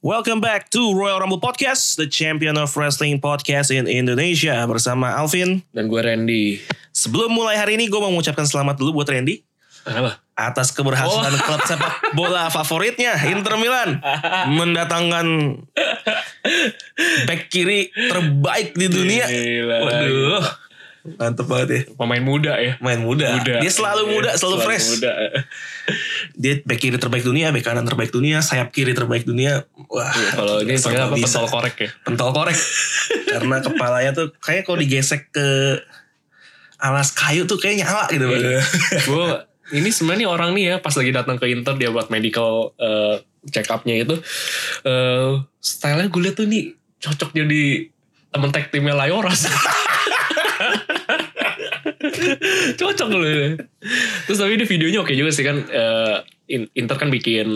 Welcome back to Royal Rumble Podcast, the champion of wrestling podcast in Indonesia bersama Alvin. Dan gue Randy. Sebelum mulai hari ini, gue mau mengucapkan selamat dulu buat Randy Kenapa? atas keberhasilan Oh. klub sepak bola favoritnya Inter Milan mendatangkan back kiri terbaik di dunia. Gila. Waduh, mantep banget ya. Pemain muda ya. Main muda. Muda. Dia selalu Iya, muda, selalu, fresh. Muda. Dia back kiri terbaik dunia, back kanan terbaik dunia, sayap kiri terbaik dunia. Wah, Iya, Kalau ini Sama sekarang apa bisa. pentol korek ya? pentol korek karena kepalanya tuh kayak kalau digesek ke alas kayu tuh kayak nyala gitu Iya. gue ini sebenarnya nih orang nih ya pas lagi datang ke Inter dia buat medical eh, check upnya itu eh stylenya gue liat tuh nih cocok jadi temen tag timnya Layoras cocok loh ini. terus tapi di videonya oke juga sih kan eh, In- Inter kan bikin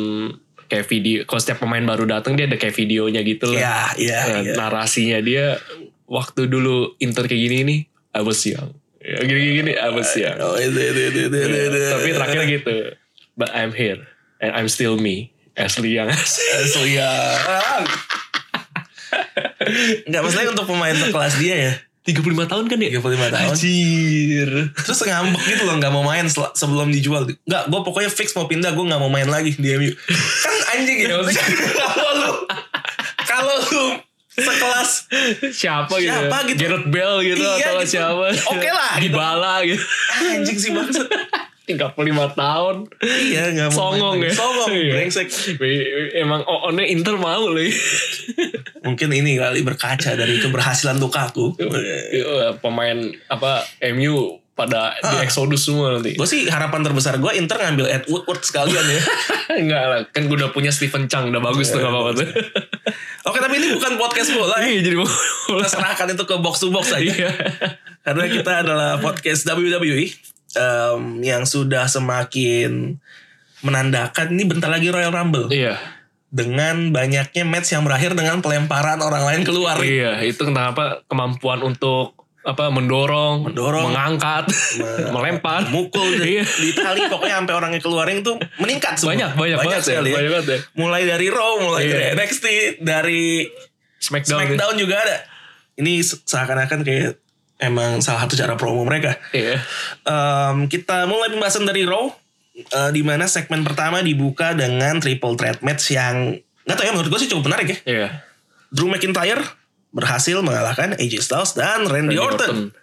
kayak video kalau setiap pemain baru datang dia ada kayak videonya gitu lah ya ya Nah, ya. narasinya dia waktu dulu Inter kayak gini nih I was young Ya, gini-gini I was young Oh, itu, itu, itu, itu, itu, itu. iya. tapi terakhir iya. gitu but I'm here and I'm still me asli yang Asli ya. Enggak maksudnya untuk pemain sekelas dia ya 35 tahun kan ya 35 tahun anjir Terus ngambek gitu loh Gak mau main sel- sebelum dijual Enggak gue pokoknya fix mau pindah Gue gak mau main lagi di MU Kan anjing ya maksudnya Kalau lu Kalau lu sekelas siapa gitu Siapa gitu? Gareth Bale gitu Iya, atau gitu. siapa Oke lah, gitu. Dybala gitu Anjing sih maksud 35 tahun Iya gak mau songong main ya lagi. Songong Iya. brengsek Iya. emang oonnya Inter mau loh Mungkin ini kali berkaca dari keberhasilan Lukaku Iya, pemain apa MU pada di Ah. Exodus semua nanti Gue sih harapan terbesar gue Inter ngambil Ed Woodward sekalian ya enggak lah kan gue udah punya Steven Chang udah bagus Iya, tuh gak apa-apa tuh Oke tapi ini bukan podcast bola ya iya jadi mau Kita serahkan itu ke box to box aja iya Karena kita adalah podcast WWE em, Yang sudah semakin menandakan ini bentar lagi Royal Rumble iya dengan banyaknya match yang berakhir dengan pelemparan orang lain keluar Iya, itu kenapa kemampuan untuk apa mendorong, Mendorong. Nah, mengangkat, melempar, mukul di, Iya. di tali pokoknya sampai orangnya keluarin tuh meningkat semua. Banyak, banyak banget ya, sekali ya. banyak banget ya. mulai dari Raw mulai Iya. dari NXT dari smackdown. gitu. SmackDown juga ada ini se- seakan-akan kayak emang salah satu cara promo mereka Iya. Em, kita mulai pembahasan dari Raw eh, di mana segmen pertama dibuka dengan triple threat match yang nggak tau ya menurut gue sih cukup menarik ya Iya. Drew McIntyre berhasil mengalahkan AJ Styles dan Randy, Orton.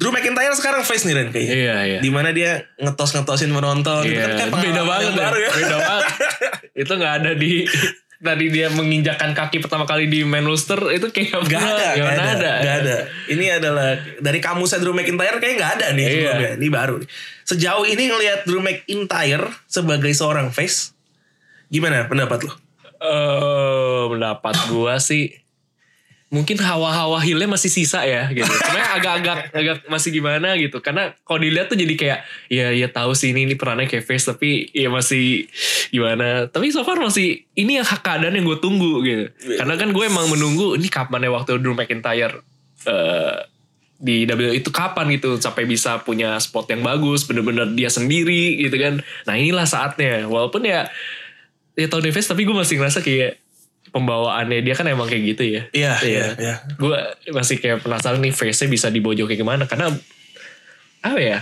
Drew McIntyre sekarang face nih Ren kayaknya. Iya, iya. di mana dia ngetos ngetosin penonton gitu Iya, kayak itu beda pengalaman yang banget ya. baru ya. Beda banget. itu nggak ada di tadi dia menginjakan kaki pertama kali di main roster itu kayak Ya, Gak ada, nggak gak ada, ada. gak ada. Ini adalah dari kamu saya Drew McIntyre kayaknya gak ada nih Iya. sebelumnya. Ini baru. nih. Sejauh ini ngelihat Drew McIntyre sebagai seorang face, gimana pendapat lo? Eh, pendapat gua sih mungkin hawa-hawa healnya masih sisa ya gitu. Sebenarnya agak-agak agak masih gimana gitu. Karena kalau dilihat tuh jadi kayak ya ya tahu sih ini ini perannya kayak face tapi ya masih gimana. Tapi so far masih ini yang keadaan yang gue tunggu gitu. Karena kan gue emang menunggu ini kapan ya waktu Drew McIntyre eh, di WWE itu kapan gitu sampai bisa punya spot yang bagus bener-bener dia sendiri gitu kan. Nah inilah saatnya. Walaupun ya ya Tony Davis tapi gue masih ngerasa kayak pembawaannya dia kan emang kayak gitu ya. Iya, Iya. iya, iya. Gue masih kayak penasaran nih face-nya bisa dibojok kayak gimana karena apa ya?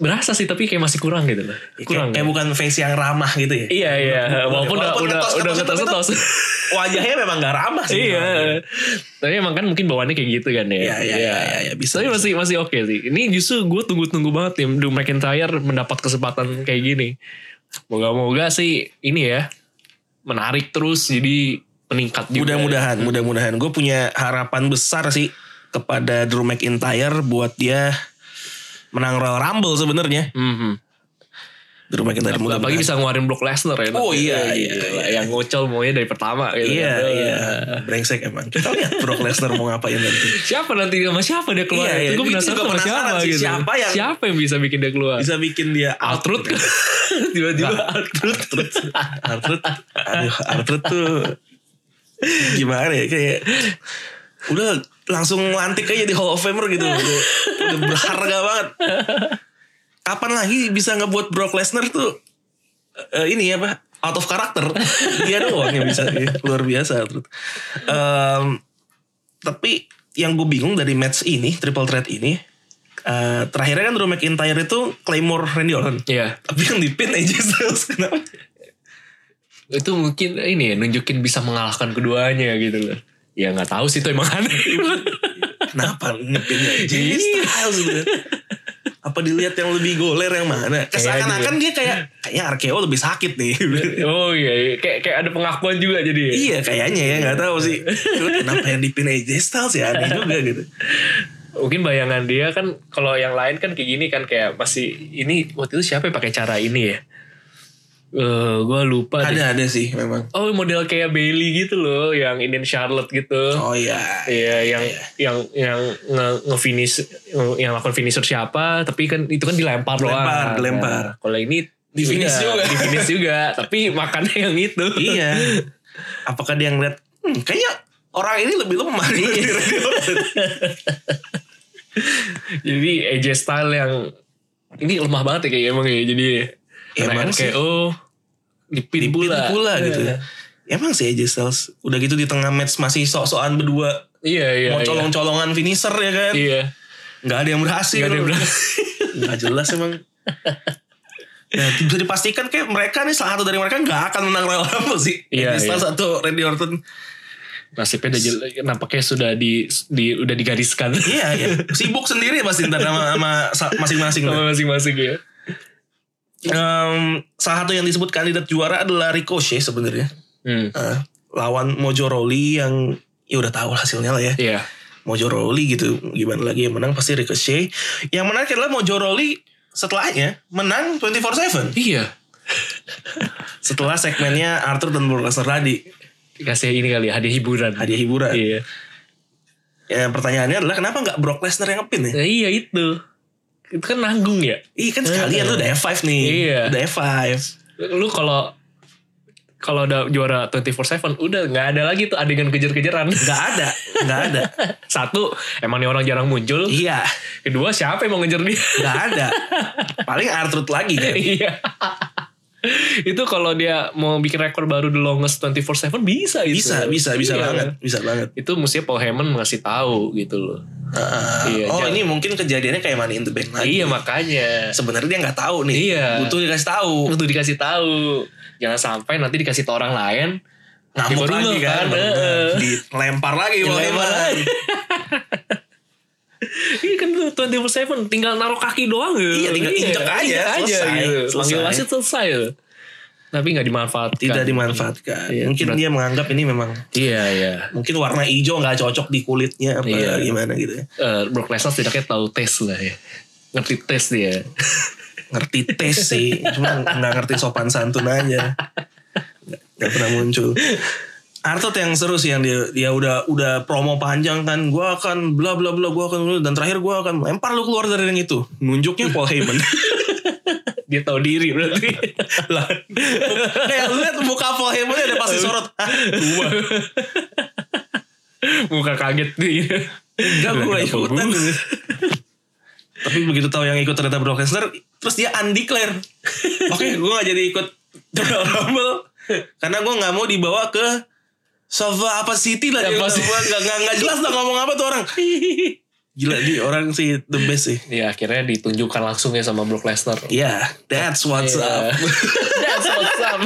Berasa sih tapi kayak masih kurang gitu loh. Kurang. Iya, Kayak, kayak bukan face yang ramah gitu ya. iya iya, walaupun, udah udah ngetos- udah ngetos- ngetos- ngetos-ngetos. Wajahnya memang gak ramah sih. Iya. Tapi emang kan mungkin bawaannya kayak gitu kan ya. Iya, iya, iya, iya, bisa, Tapi masih masih oke sih. Ini justru gue tunggu-tunggu banget nih Drew McIntyre mendapat kesempatan kayak gini. Moga-moga sih ini ya menarik terus jadi meningkat juga. Mudah-mudahan, mudah-mudahan. Gue punya harapan besar sih kepada Drew McIntyre buat dia menang Royal Rumble sebenarnya. Mhm. Drew McIntyre Apalagi mudah-mudahan. bisa ngeluarin Brock Lesnar ya. Oh, iya, iya, Gitu lah. Yang ngocol maunya dari pertama gitu. Iya, kan. iya. Brengsek emang. Kita lihat Brock Lesnar mau ngapain nanti. Siapa nanti sama siapa dia keluar? Iya, iya. Gue Itu penasaran juga sama penasaran siapa sih, gitu. siapa yang- siapa yang bisa bikin dia keluar? Bisa bikin dia out. Artrud kan? Nah. Tiba-tiba Artrud. Artrud. Aduh, Artrud tuh gimana ya kayak udah langsung lantik aja di Hall of Famer gitu. Udah, udah berharga banget. Kapan lagi bisa ngebuat Brock Lesnar tuh eh, ini apa out of karakter dia doang yang bisa iya, luar biasa Ruth. Em, tapi yang gue bingung dari match ini triple threat ini eh, terakhirnya kan Drew McIntyre itu Claymore Randy Orton Iya. tapi yang dipin AJ Styles kenapa Itu mungkin ini ya, nunjukin bisa mengalahkan keduanya gitu loh. Ya nggak tahu sih itu emang aneh. kenapa ngepinnya AJ Styles gitu apa dilihat yang lebih goler yang mana seakan-akan dia kayak kayaknya RKO lebih sakit nih oh iya, iya. Kayak, kayak ada pengakuan juga jadi ya. iya kayaknya ya nggak tahu sih kenapa yang dipin AJ Styles ya aneh juga gitu Mungkin bayangan dia kan kalau yang lain kan kayak gini kan kayak masih ini waktu itu siapa yang pakai cara ini ya? Eh, gua lupa deh. ada ada sih memang Oh, model kayak Bailey gitu loh, yang Indian Charlotte gitu. Oh iya. Iya, yang yang yang nge, finish yang lakukan finisher siapa, tapi kan itu kan dilempar doang. Dilempar, Nah, dilempar. Kalau ini Di finish iya, juga. di finish juga, tapi makannya yang itu. iya. Apakah dia ngeliat hmm, kayaknya orang ini lebih lemah gitu?" dibanding Randy Orton. Jadi AJ style yang ini lemah banget ya kayak emang ya. Jadi Ya, emang emang sih. RKO dipin, Dipin pula. pula gitu. Iya, Emang sih AJ Styles udah gitu di tengah match masih sok-sokan berdua Iya, iya. mau iya. colong-colongan finisher ya kan. Iya. Nggak ada yang berhasil. Gak ada yang bilang. Nggak jelas emang. Nah, bisa dipastikan kayak mereka nih salah satu dari mereka nggak akan menang Royal Rumble sih. Iya, AJ Styles iya. atau Randy Orton. Nasibnya udah jelek, nampaknya sudah di, di udah digariskan Iya, iya. Sibuk sendiri pasti ntar sama, sama sa- masing-masing. sama masing-masing ya. Em, salah satu yang disebut kandidat juara adalah Ricochet sebenarnya. Hmm. Eh, lawan Mojo Rawley yang ya udah tahu hasilnya lah ya. Iya. Mojo Rawley gitu gimana lagi yang menang pasti Ricochet. Yang menarik adalah Mojo Rawley setelahnya menang 24/7 Iya. setelah segmennya Arthur dan Brock Lesnar tadi Kasih ini kali ya, hadiah hiburan. hadiah hiburan. Iya. Ya, pertanyaannya adalah kenapa nggak Brock Lesnar yang ngepin ya? Nah, iya itu. Itu kan nanggung ya. Ih kan sekalian Iya. lu udah F5 nih. Iya. Udah F5. Lu kalau kalau udah juara 24/7 udah nggak ada lagi tuh adegan kejar-kejaran. Gak ada, gak ada. Satu, emang nih orang jarang muncul. iya, Kedua, siapa yang mau ngejar dia? gak ada. Paling Arthur lagi kan. Iya. itu kalau dia mau bikin rekor baru the longest 24/7 bisa itu. Bisa, bisa, bisa Iya. banget, bisa banget. Itu mestinya Paul Heyman ngasih tahu gitu loh. Ah, Iya, oh jangan- ini mungkin kejadiannya kayak Money in the Bank lagi. Iya makanya. Sebenarnya dia nggak tahu nih. Iya. Butuh dikasih tahu. Untuk dikasih tahu. Jangan sampai nanti dikasih ke orang lain. Ngamuk Tiba-tiba lagi kan. kan, Nah, eh. Dilempar lagi. Bang Dilempar Iman. lagi. Iya kan tuh 24/7 tinggal naruh kaki doang ya. Iya, tinggal injek aja, injek selesai, gitu. selesai. Panggil wasit selesai. loh. Tapi nggak dimanfaatkan. Tidak dimanfaatkan. Iya, mungkin berat. dia menganggap ini memang. Iya iya. Mungkin warna hijau nggak cocok di kulitnya. Apa Iya. gimana gitu ya. Eh, Brock Lesnar setidaknya tahu tes lah ya. Ngerti tes dia. Ngerti tes sih. Cuma nggak ngerti sopan santun aja. Nggak- Nggak pernah muncul. Artot yang seru sih yang dia dia udah udah promo panjang kan gue akan bla bla bla gue akan dan terakhir gue akan lempar lu keluar dari ring itu nunjuknya Paul Heyman Dia tahu diri berarti. lah kayak lu liat muka Paul Heyman ada pasti sorot Hah, gua Muka kaget dia. enggak Lah, gua kenapa ikutan gua? tapi begitu tahu yang ikut ternyata Brock Lesnar terus dia undeclare oke gua gak jadi ikut Royal Rumble karena gua gak mau dibawa ke Sova apa City lah dia bilang. Apa sih? Gua nggak nggak- nggak jelas lah ngomong apa tuh orang gila dia orang sih the best sih Ya akhirnya ditunjukkan langsung ya sama Brock Lesnar. Yeah, that's what's up. Iya. That's what's up.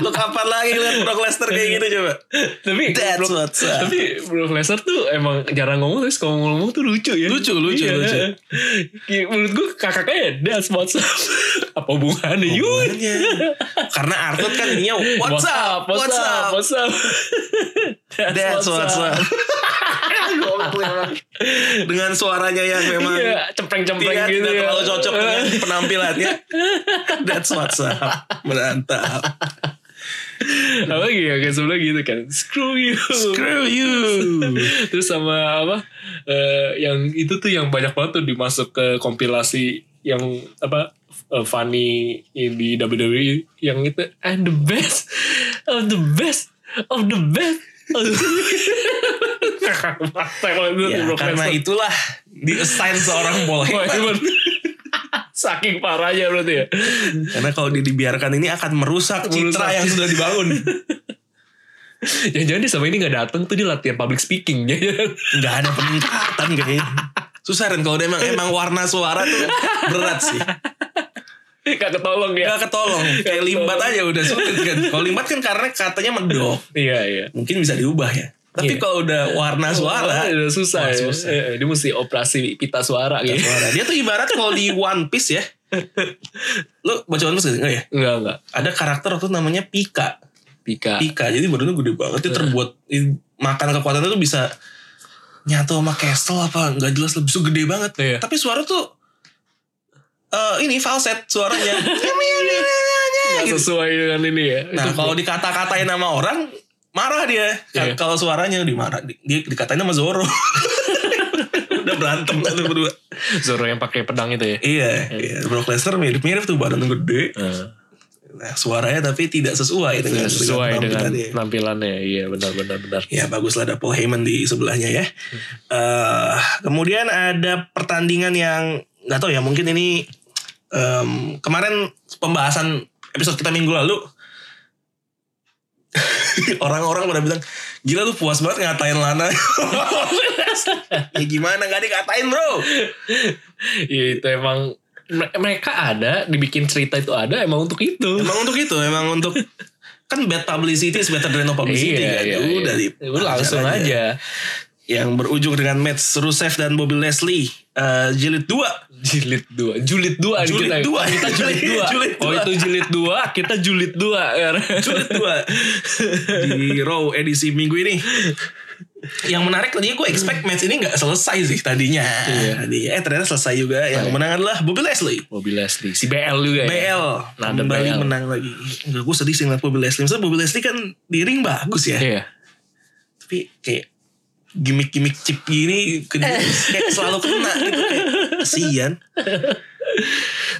Lu kapan lagi lihat Brock Lesnar kayak gitu coba? tapi That's Brock- what's up. tapi Brock Lesnar tuh emang jarang ngomong terus kalau ngomong tuh lucu ya Lucu, lucu, lucu. Kayak menurut gue kakaknya that's what's up apa hubungannya yuk Hubungannya. Karena Arthur kan dia what's up, what's up, what's up that's what's up. Gokil emang. dengan suaranya yang memang iya cempreng-cempreng tidak, gitu tidak ya terlalu cocok dengan penampilannya. That's what's up. Mantap. apa gitu ya kayak sebelum gitu kan screw you Screw you. terus sama apa eh, yang itu tuh yang banyak banget tuh dimasuk ke kompilasi yang apa eh, funny di WWE yang itu and the best of the best of the best of the best Ya, karena itulah di assign seorang bola Saking parahnya berarti ya. Karena kalau dia dibiarkan ini akan merusak Merusak. citra yang sudah dibangun. Jangan-jangan dia sama ini gak datang tuh dia latihan public speaking. Jangan-jangan. Nggak ada peningkatan kayaknya. Susah Ren kalau dia emang emang warna suara tuh berat sih. Gak ketolong ya. Nggak ketolong. Kayak limbat aja udah sulit kan. Kalau limbat kan karena katanya mendok. Iya, iya. Mungkin bisa diubah ya. Tapi Iya. kalau udah warna suara, Udah susah, Wah, ya. susah. Eh, eh, Dia mesti operasi pita suara gitu. suara. Dia tuh ibarat kalau di One Piece ya. Lo baca One Piece gak? Nggak ya? Enggak, enggak. Ada karakter waktu itu namanya Pika. Pika. Pika. Jadi badannya gede banget. Iya. Dia terbuat i- makan kekuatannya tuh bisa nyatu sama castle apa nggak jelas lebih gede banget. Iya. Tapi suara tuh eh, ini falset suaranya. Iya, Nggak Gitu. sesuai dengan ini ya. nah Itu- kalau dikata-katain sama orang marah dia. Ka- Iya. Kalau suaranya dimarah di- dia dikatain sama Zoro. Udah berantem kan tuh berdua. Zoro yang pakai pedang itu ya. Iya, iya. Brock Lesnar mirip-mirip tuh badan gede. Eh, Nah, suaranya tapi tidak sesuai dengan sesuai dengan penampilan dia. penampilannya. Iya, benar benar benar. Ya baguslah ada Paul Heyman di sebelahnya ya. eh kemudian ada pertandingan yang nggak tahu ya mungkin ini em, kemarin pembahasan episode kita minggu lalu orang-orang pada bilang gila lu puas banget ngatain Lana. ya gimana gak dikatain bro? Iya, itu emang me- mereka ada dibikin cerita itu ada emang untuk itu. Emang untuk itu, emang untuk kan bad publicity is better than no publicity kan. Iya, Udah di Ya Udah iya. langsung aja. yang berujung dengan match Rusev dan Bobby Leslie eh, jilid 2 Jilid 2. Jilid 2 Julid kita. dua. Nah, Kita jilid 2. Julid Oh, dua. itu jilid 2, kita jilid 2. jilid 2 di Raw edisi minggu ini yang menarik tadinya gue expect match ini nggak selesai sih tadinya. Iya. Tadinya. eh ternyata selesai juga yang Baik. menang adalah Bobby Leslie Bobby Leslie, si BL juga ya. BL Nah, ada kembali BL. menang lagi Enggak, gue sedih sih ngeliat Bobby Leslie Maksudnya Bobby Leslie kan di ring bagus ya Iya. tapi kayak gimmick-gimmick chip gini ke Eh. dia, kayak selalu kena gitu kayak kasihan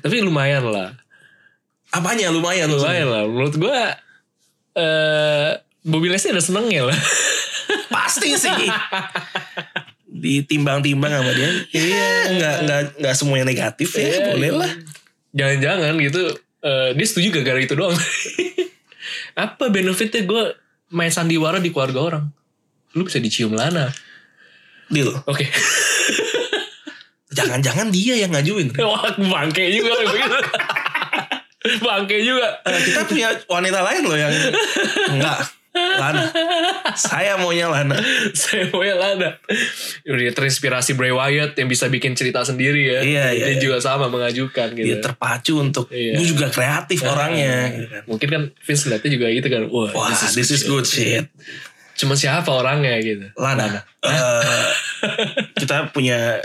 Tapi lumayan lah. apanya lumayan lumayan Lumayan lah. Menurut gua eh Bobby Leslie ada senengnya lah. pasti sih ditimbang-timbang sama dia iya nggak nggak nggak semuanya negatif ya Iya, boleh iya. lah Jangan-jangan gitu eh, dia setuju gara-gara itu doang. Apa benefitnya gue main sandiwara di keluarga orang? Lu bisa dicium lana. deal Oke. jangan-jangan dia yang ngajuin Wah, bangke juga kayak begitu. bangke juga. Eh, kita punya wanita lain loh yang enggak Lana saya maunya Lana Saya mau yang lana. Dia terinspirasi Bray Wyatt yang bisa bikin cerita sendiri Iya, ya. iya, iya. Dia juga sama mengajukan gitu. dia terpacu untuk Iya. gue juga kreatif orangnya gitu kan. Mungkin kan Vince liatnya juga gitu kan. Wah, wah this is good shit Cuma siapa orangnya gitu. Lana, Eh, kita punya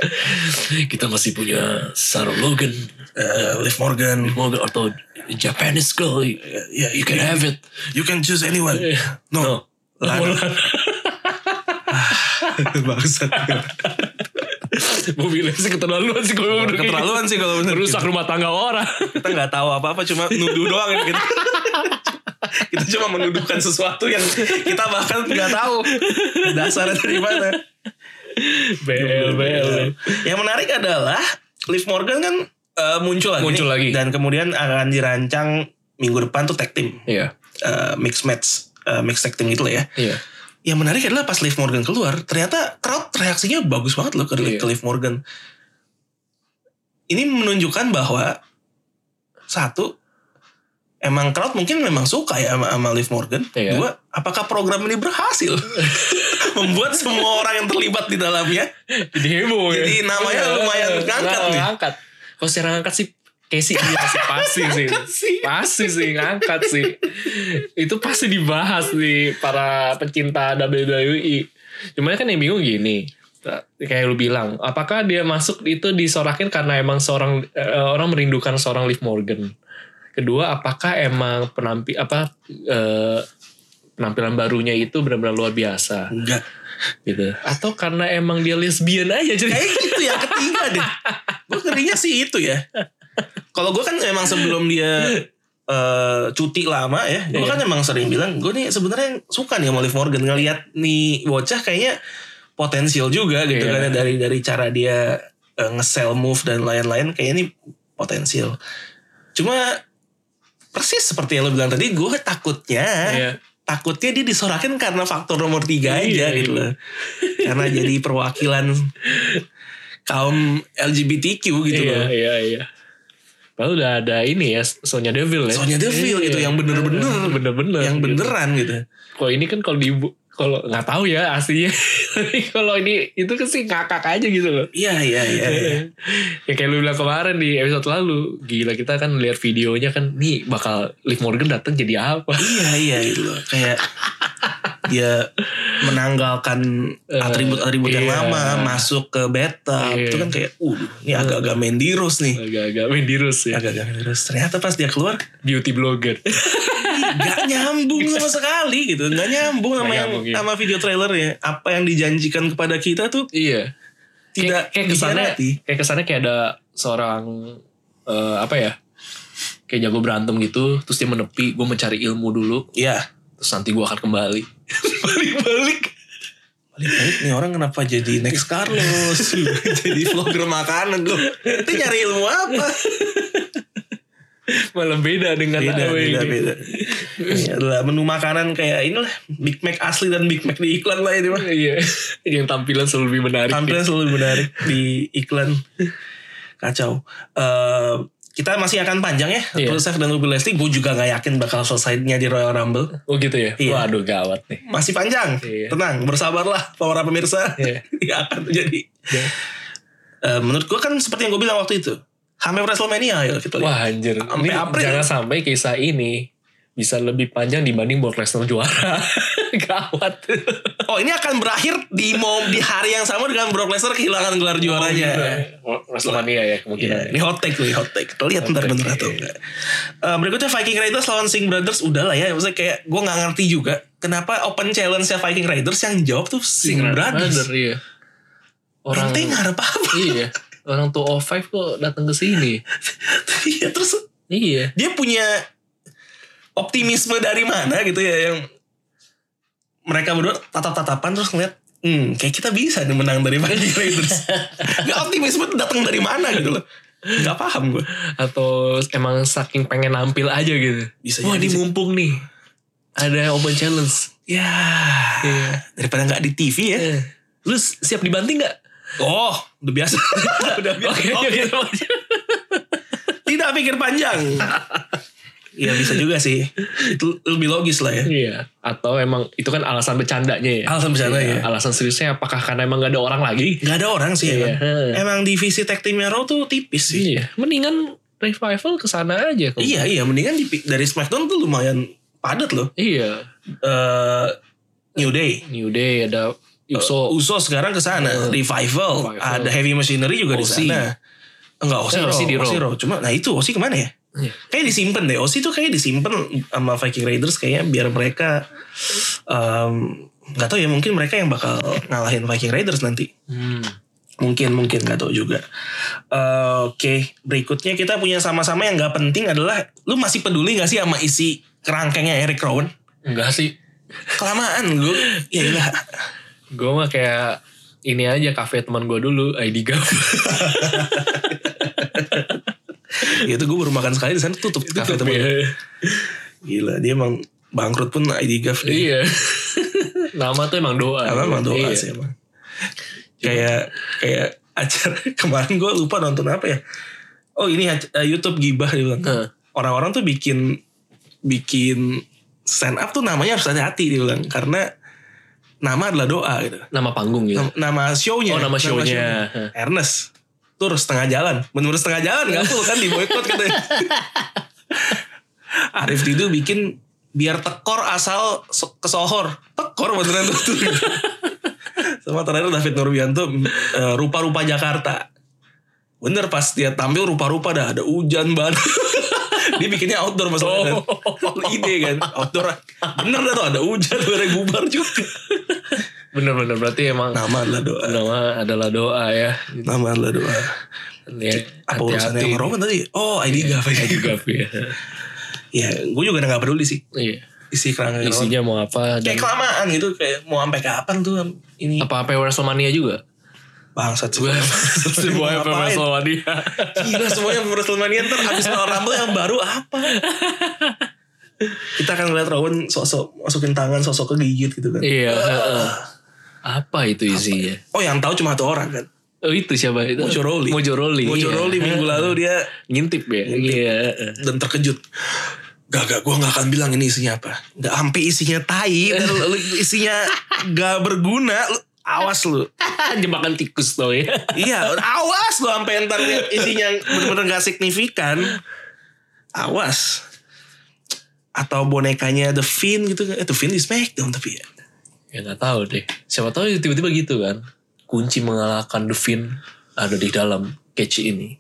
Kita masih punya Sarah Logan. eh, Liv Morgan. Moga atau Japanese girl. Ya, you can have it. you can choose anyone. Iya. No, Lana. Bangsat. Mobilnya sih keterlaluan sih kalau menurut gue. Keterlaluan sih kalau bener. Rusak rumah tangga orang. Kita nggak tahu apa-apa, cuma nuduh doang gitu. ini kita. kita cuma menuduhkan sesuatu yang kita bahkan nggak tahu dasarnya dari mana. Iya. BL, BL. Yang menarik adalah Liv Morgan kan eh, muncul lagi. Muncul nih. lagi. Dan kemudian akan dirancang minggu depan tuh tag team. Iya. eh, mixed match. eh, mixed tag team gitu lah ya. Iya. yang menarik adalah pas Liv Morgan keluar, ternyata crowd reaksinya bagus banget loh ke, Iya. ke Liv Morgan. Ini menunjukkan bahwa satu emang crowd mungkin memang suka ya sama, sama Liv Morgan. Iya. Dua, apakah program ini berhasil membuat semua orang yang terlibat di dalamnya? Jadi heboh ya. Jadi namanya lumayan Nah, ngangkat nih. Ngangkat. Kalau sekarang ngangkat sih Casey iya sih pasti sih. Ngangkat sih. Pasti sih ngangkat sih. Itu pasti dibahas di para pencinta WWE. Cuman kan yang bingung gini. Kayak lu bilang, apakah dia masuk itu disorakin karena emang seorang eh, orang merindukan seorang Liv Morgan? Kedua, apakah emang penampi apa eh, penampilan barunya itu benar-benar luar biasa Enggak. gitu? Atau karena emang dia lesbian aja jadi Kayaknya itu ya ketiga deh. Gue ngerinya sih itu ya. Kalau gue kan emang sebelum dia eh, cuti lama ya, gue Iya. kan emang sering bilang gue nih sebenarnya suka nih sama Liv Morgan ngelihat nih bocah kayaknya potensial juga gitu Iya. kan ya. dari dari cara dia eh, nge-sell move dan lain-lain kayaknya nih potensial. Cuma persis seperti yang lo bilang tadi, gue takutnya Iya. takutnya dia disorakin karena faktor nomor tiga Iya, aja gitu iya. loh. karena jadi perwakilan kaum LGBTQ gitu iya, loh. Iya, iya. Lalu udah ada ini ya, Sonya Deville ya. Iya, Sonya Deville gitu, yang bener-bener. Bener-bener. yang gitu. beneran gitu. Kalau ini kan kalau di kalau nggak tahu ya aslinya. Tapi kalau ini itu kan sih ngakak aja gitu loh. Iya iya iya. iya. ya kayak lu bilang kemarin di episode lalu, gila kita kan lihat videonya kan nih bakal Liv Morgan datang jadi apa? Iya iya gitu loh. Kayak dia menanggalkan Eh, atribut-atribut yang iya. lama masuk ke beta Iya. itu kan kayak uh ini agak-agag mendirus nih Agak-agak mendirus ya. agak-agak mendirus ternyata pas dia keluar Beauty blogger. ih, gak nyambung sama sekali gitu gak nyambung sama Iya. Nggak yang nyambung, iya. sama video trailernya apa yang dijanjikan kepada kita tuh iya. tidak kayak, kayak kesannya dikhianati. kayak kesannya kayak ada seorang eh, apa ya kayak jago berantem gitu terus dia menepi gue mencari ilmu dulu Iya. terus nanti gue akan kembali balik-balik Balik-balik nih orang kenapa jadi next Carlos Jadi vlogger makanan loh Itu nyari ilmu apa malah beda dengan Beda AW beda ini. beda Ini adalah menu makanan kayak inilah Big Mac asli dan Big Mac di iklan lah ini mah iya yang tampilan selalu lebih menarik gitu. Tampilan selalu menarik di iklan Kacau Eh, Kita masih akan panjang ya Iya. Terus Seth dan Ruby Leslie Gue juga gak yakin bakal selesainya di Royal Rumble oh gitu ya Iya. waduh gawat nih masih panjang. Iya. Tenang, bersabarlah para pemirsa. Iya. Iya akan terjadi. Iya. Eh, menurut gua kan seperti yang gue bilang waktu itu. Sampai WrestleMania ya gitu. ayo kita lihat. wah anjir Sampai ini April. ya? jangan sampai kisah ini bisa lebih panjang dibanding Brock Lesnar juara gawat Oh ini akan berakhir di mau di hari yang sama dengan Brock Lesnar kehilangan gelar juaranya. Oh, iya. WrestleMania ya Eh. Iya, kemungkinan ini hot take nih, hot take. Kita lihat Hot ntar take, bener iya. atau enggak. Eh, berikutnya Viking Raiders lawan Sing Brothers udah lah ya. Maksudnya kayak gue nggak ngerti juga kenapa open challenge-nya Viking Raiders yang jawab tuh Sing, Brothers. iya. Orang Orang ngarep apa? iya, orang tuh O5 kok datang ke sini. Iya, terus Iya. dia punya optimisme dari mana gitu ya yang mereka berdua tatap-tatapan terus ngeliat hmm kayak kita bisa nih menang dari Viking Raiders gak optimisme itu datang dari mana gitu loh gak paham gue Atau emang saking pengen nampil aja gitu. Bisa Wah, jadi ini sih. mumpung nih. Ada open challenge. ya Iya. daripada gak di TV ya Eh, Lu s- siap dibanting gak? oh udah biasa udah biasa Oke, gitu Oh, oke. tidak pikir panjang ya bisa juga sih itu lebih logis lah ya Iya. Atau emang itu kan alasan bercandanya ya. Alasan bercanda, Iya, ya. Alasan seriusnya apakah karena emang gak ada orang lagi? gak ada orang sih ya Iya. kan? emang divisi tag teamnya Raw tuh tipis sih Iya. Mendingan revival ke sana aja. kok. Iya iya mendingan di- dari SmackDown tuh lumayan padat loh. Iya. Eh New Day, New Day ada Uso. Uso sekarang ke sana, Revival, Hmm. Revival. ada Heavy Machinery juga di Osi. sana. Enggak Osi, Eh, Osi di di Osi Raw. Raw. Cuma nah itu Osi kemana ya? Iya. Kayak disimpan deh. Osi tuh kayak disimpan sama Viking Raiders kayaknya biar mereka em, nggak tahu ya mungkin mereka yang bakal ngalahin Viking Raiders nanti. Hmm. Mungkin mungkin nggak tahu juga. Eh, Oke, berikutnya kita punya sama-sama yang nggak penting adalah lu masih peduli nggak sih sama isi kerangkengnya Eric Rowan? Enggak sih. kelamaan gue ya iyalah Gue mah kayak ini aja kafe teman gue dulu ID Gap. Ya, itu gue baru makan sekali di sana tutup kafe Tutup temen ya. gila dia emang bangkrut pun ID Gaf deh Iya. Nama tuh emang doa. ya. apa emang doa Iya. sih emang kayak kayak acara kemarin gue lupa nonton apa ya oh ini ac- eh, YouTube gibah dia bilang Heeh. orang-orang tuh bikin bikin stand up tuh namanya harus hati-hati dia bilang karena nama adalah doa gitu Nama panggung gitu. Nam- nama show-nya Oh, nama show-nya. show-nya. Ernest tur setengah jalan menurut setengah jalan nggak full kan di boykot katanya Arif Didu bikin biar tekor asal so- kesohor tekor beneran tuh tuh. sama terakhir David Nurbianto eh, rupa-rupa Jakarta bener pas dia tampil rupa-rupa dah ada hujan banget dia bikinnya outdoor masalahnya kan ide kan outdoor bener dah tuh ada hujan bareng bubar juga Bener-bener berarti emang nama adalah doa nama adalah doa ya. Nama adalah doa. ya Apa urusannya sama Roman tadi? Oh, Iya, ID Gaf. ID Gap ya. Ya, gue juga udah gak peduli sih Iya. isi kerangka Roman. Isinya mau apa Kayak dan kelamaan gitu, kayak mau sampai kapan tuh ini? apa apa WrestleMania juga? Bangsat sih. Gue sebuah Ngapain? FMS Slovenia. Gila semuanya WrestleMania ntar habis Royal Rumble yang baru apa? Kita akan lihat Rowan sosok masukin tangan sosok kegigit gitu kan. Iya. heeh. Apa itu isinya? Oh yang tahu cuma satu orang kan. Oh itu siapa itu? Mojoroli. Mojoroli. Mojoroli Iya. minggu lalu dia Ngintip ya. Iya. heeh. dan terkejut. Gak, gak, gue gak akan bilang ini isinya apa. Gak sampai isinya tai, dan lu- lu isinya gak berguna. Lu, awas lu. Jebakan tikus tuh ya. Iya, awas lu sampai ntar liat isinya bener-bener gak signifikan. Awas. Atau bonekanya The Fiend gitu. kan. Eh, The Fiend di Smackdown tapi ya. Ya nggak tahu deh. Siapa tahu tiba-tiba gitu kan. Kunci mengalahkan The Fin ada di dalam catch ini.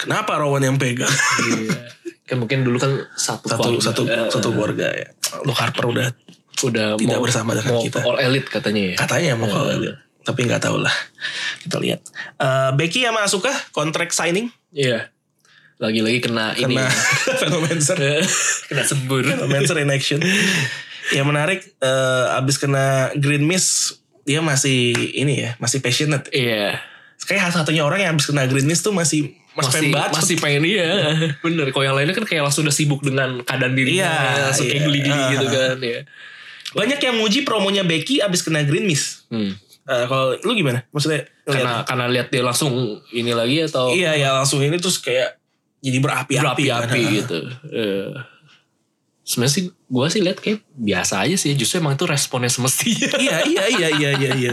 Kenapa Rowan yang pegang? Iya. kan mungkin dulu kan Satu, satu keluarga, satu, eh, satu keluarga ya. Lu Harper udah udah tidak mau, bersama dengan mau kita. All elite katanya ya. Katanya mau kalau Tapi nggak tahu lah. Kita lihat. Eh, Becky sama Asuka kontrak signing Iya. Lagi-lagi kena, ini. karena Iya. Venomancer. kena sembur. Venomancer in action. Yang menarik eh, abis kena Green Miss dia masih ini ya masih passionate. Iya. Kayak satunya orang yang abis kena Green Miss tuh masih masih, pengen masih bacot. masih pengen iya bener kalau yang lainnya kan kayak langsung udah sibuk dengan keadaan dirinya Iya, langsung kayak iya. geli-geli Ah. gitu kan ya Banyak yang muji promonya Becky abis kena Green Miss. hmm. Eh, kalau lu gimana? Maksudnya ngeliat- karena karena lihat dia langsung ini lagi atau iya ya langsung ini terus kayak jadi berapi-api. berapi-api kan. gitu Eh, sebenarnya sih gue sih lihat kayak biasa aja sih justru emang itu responnya semestinya iya iya iya iya iya. iya.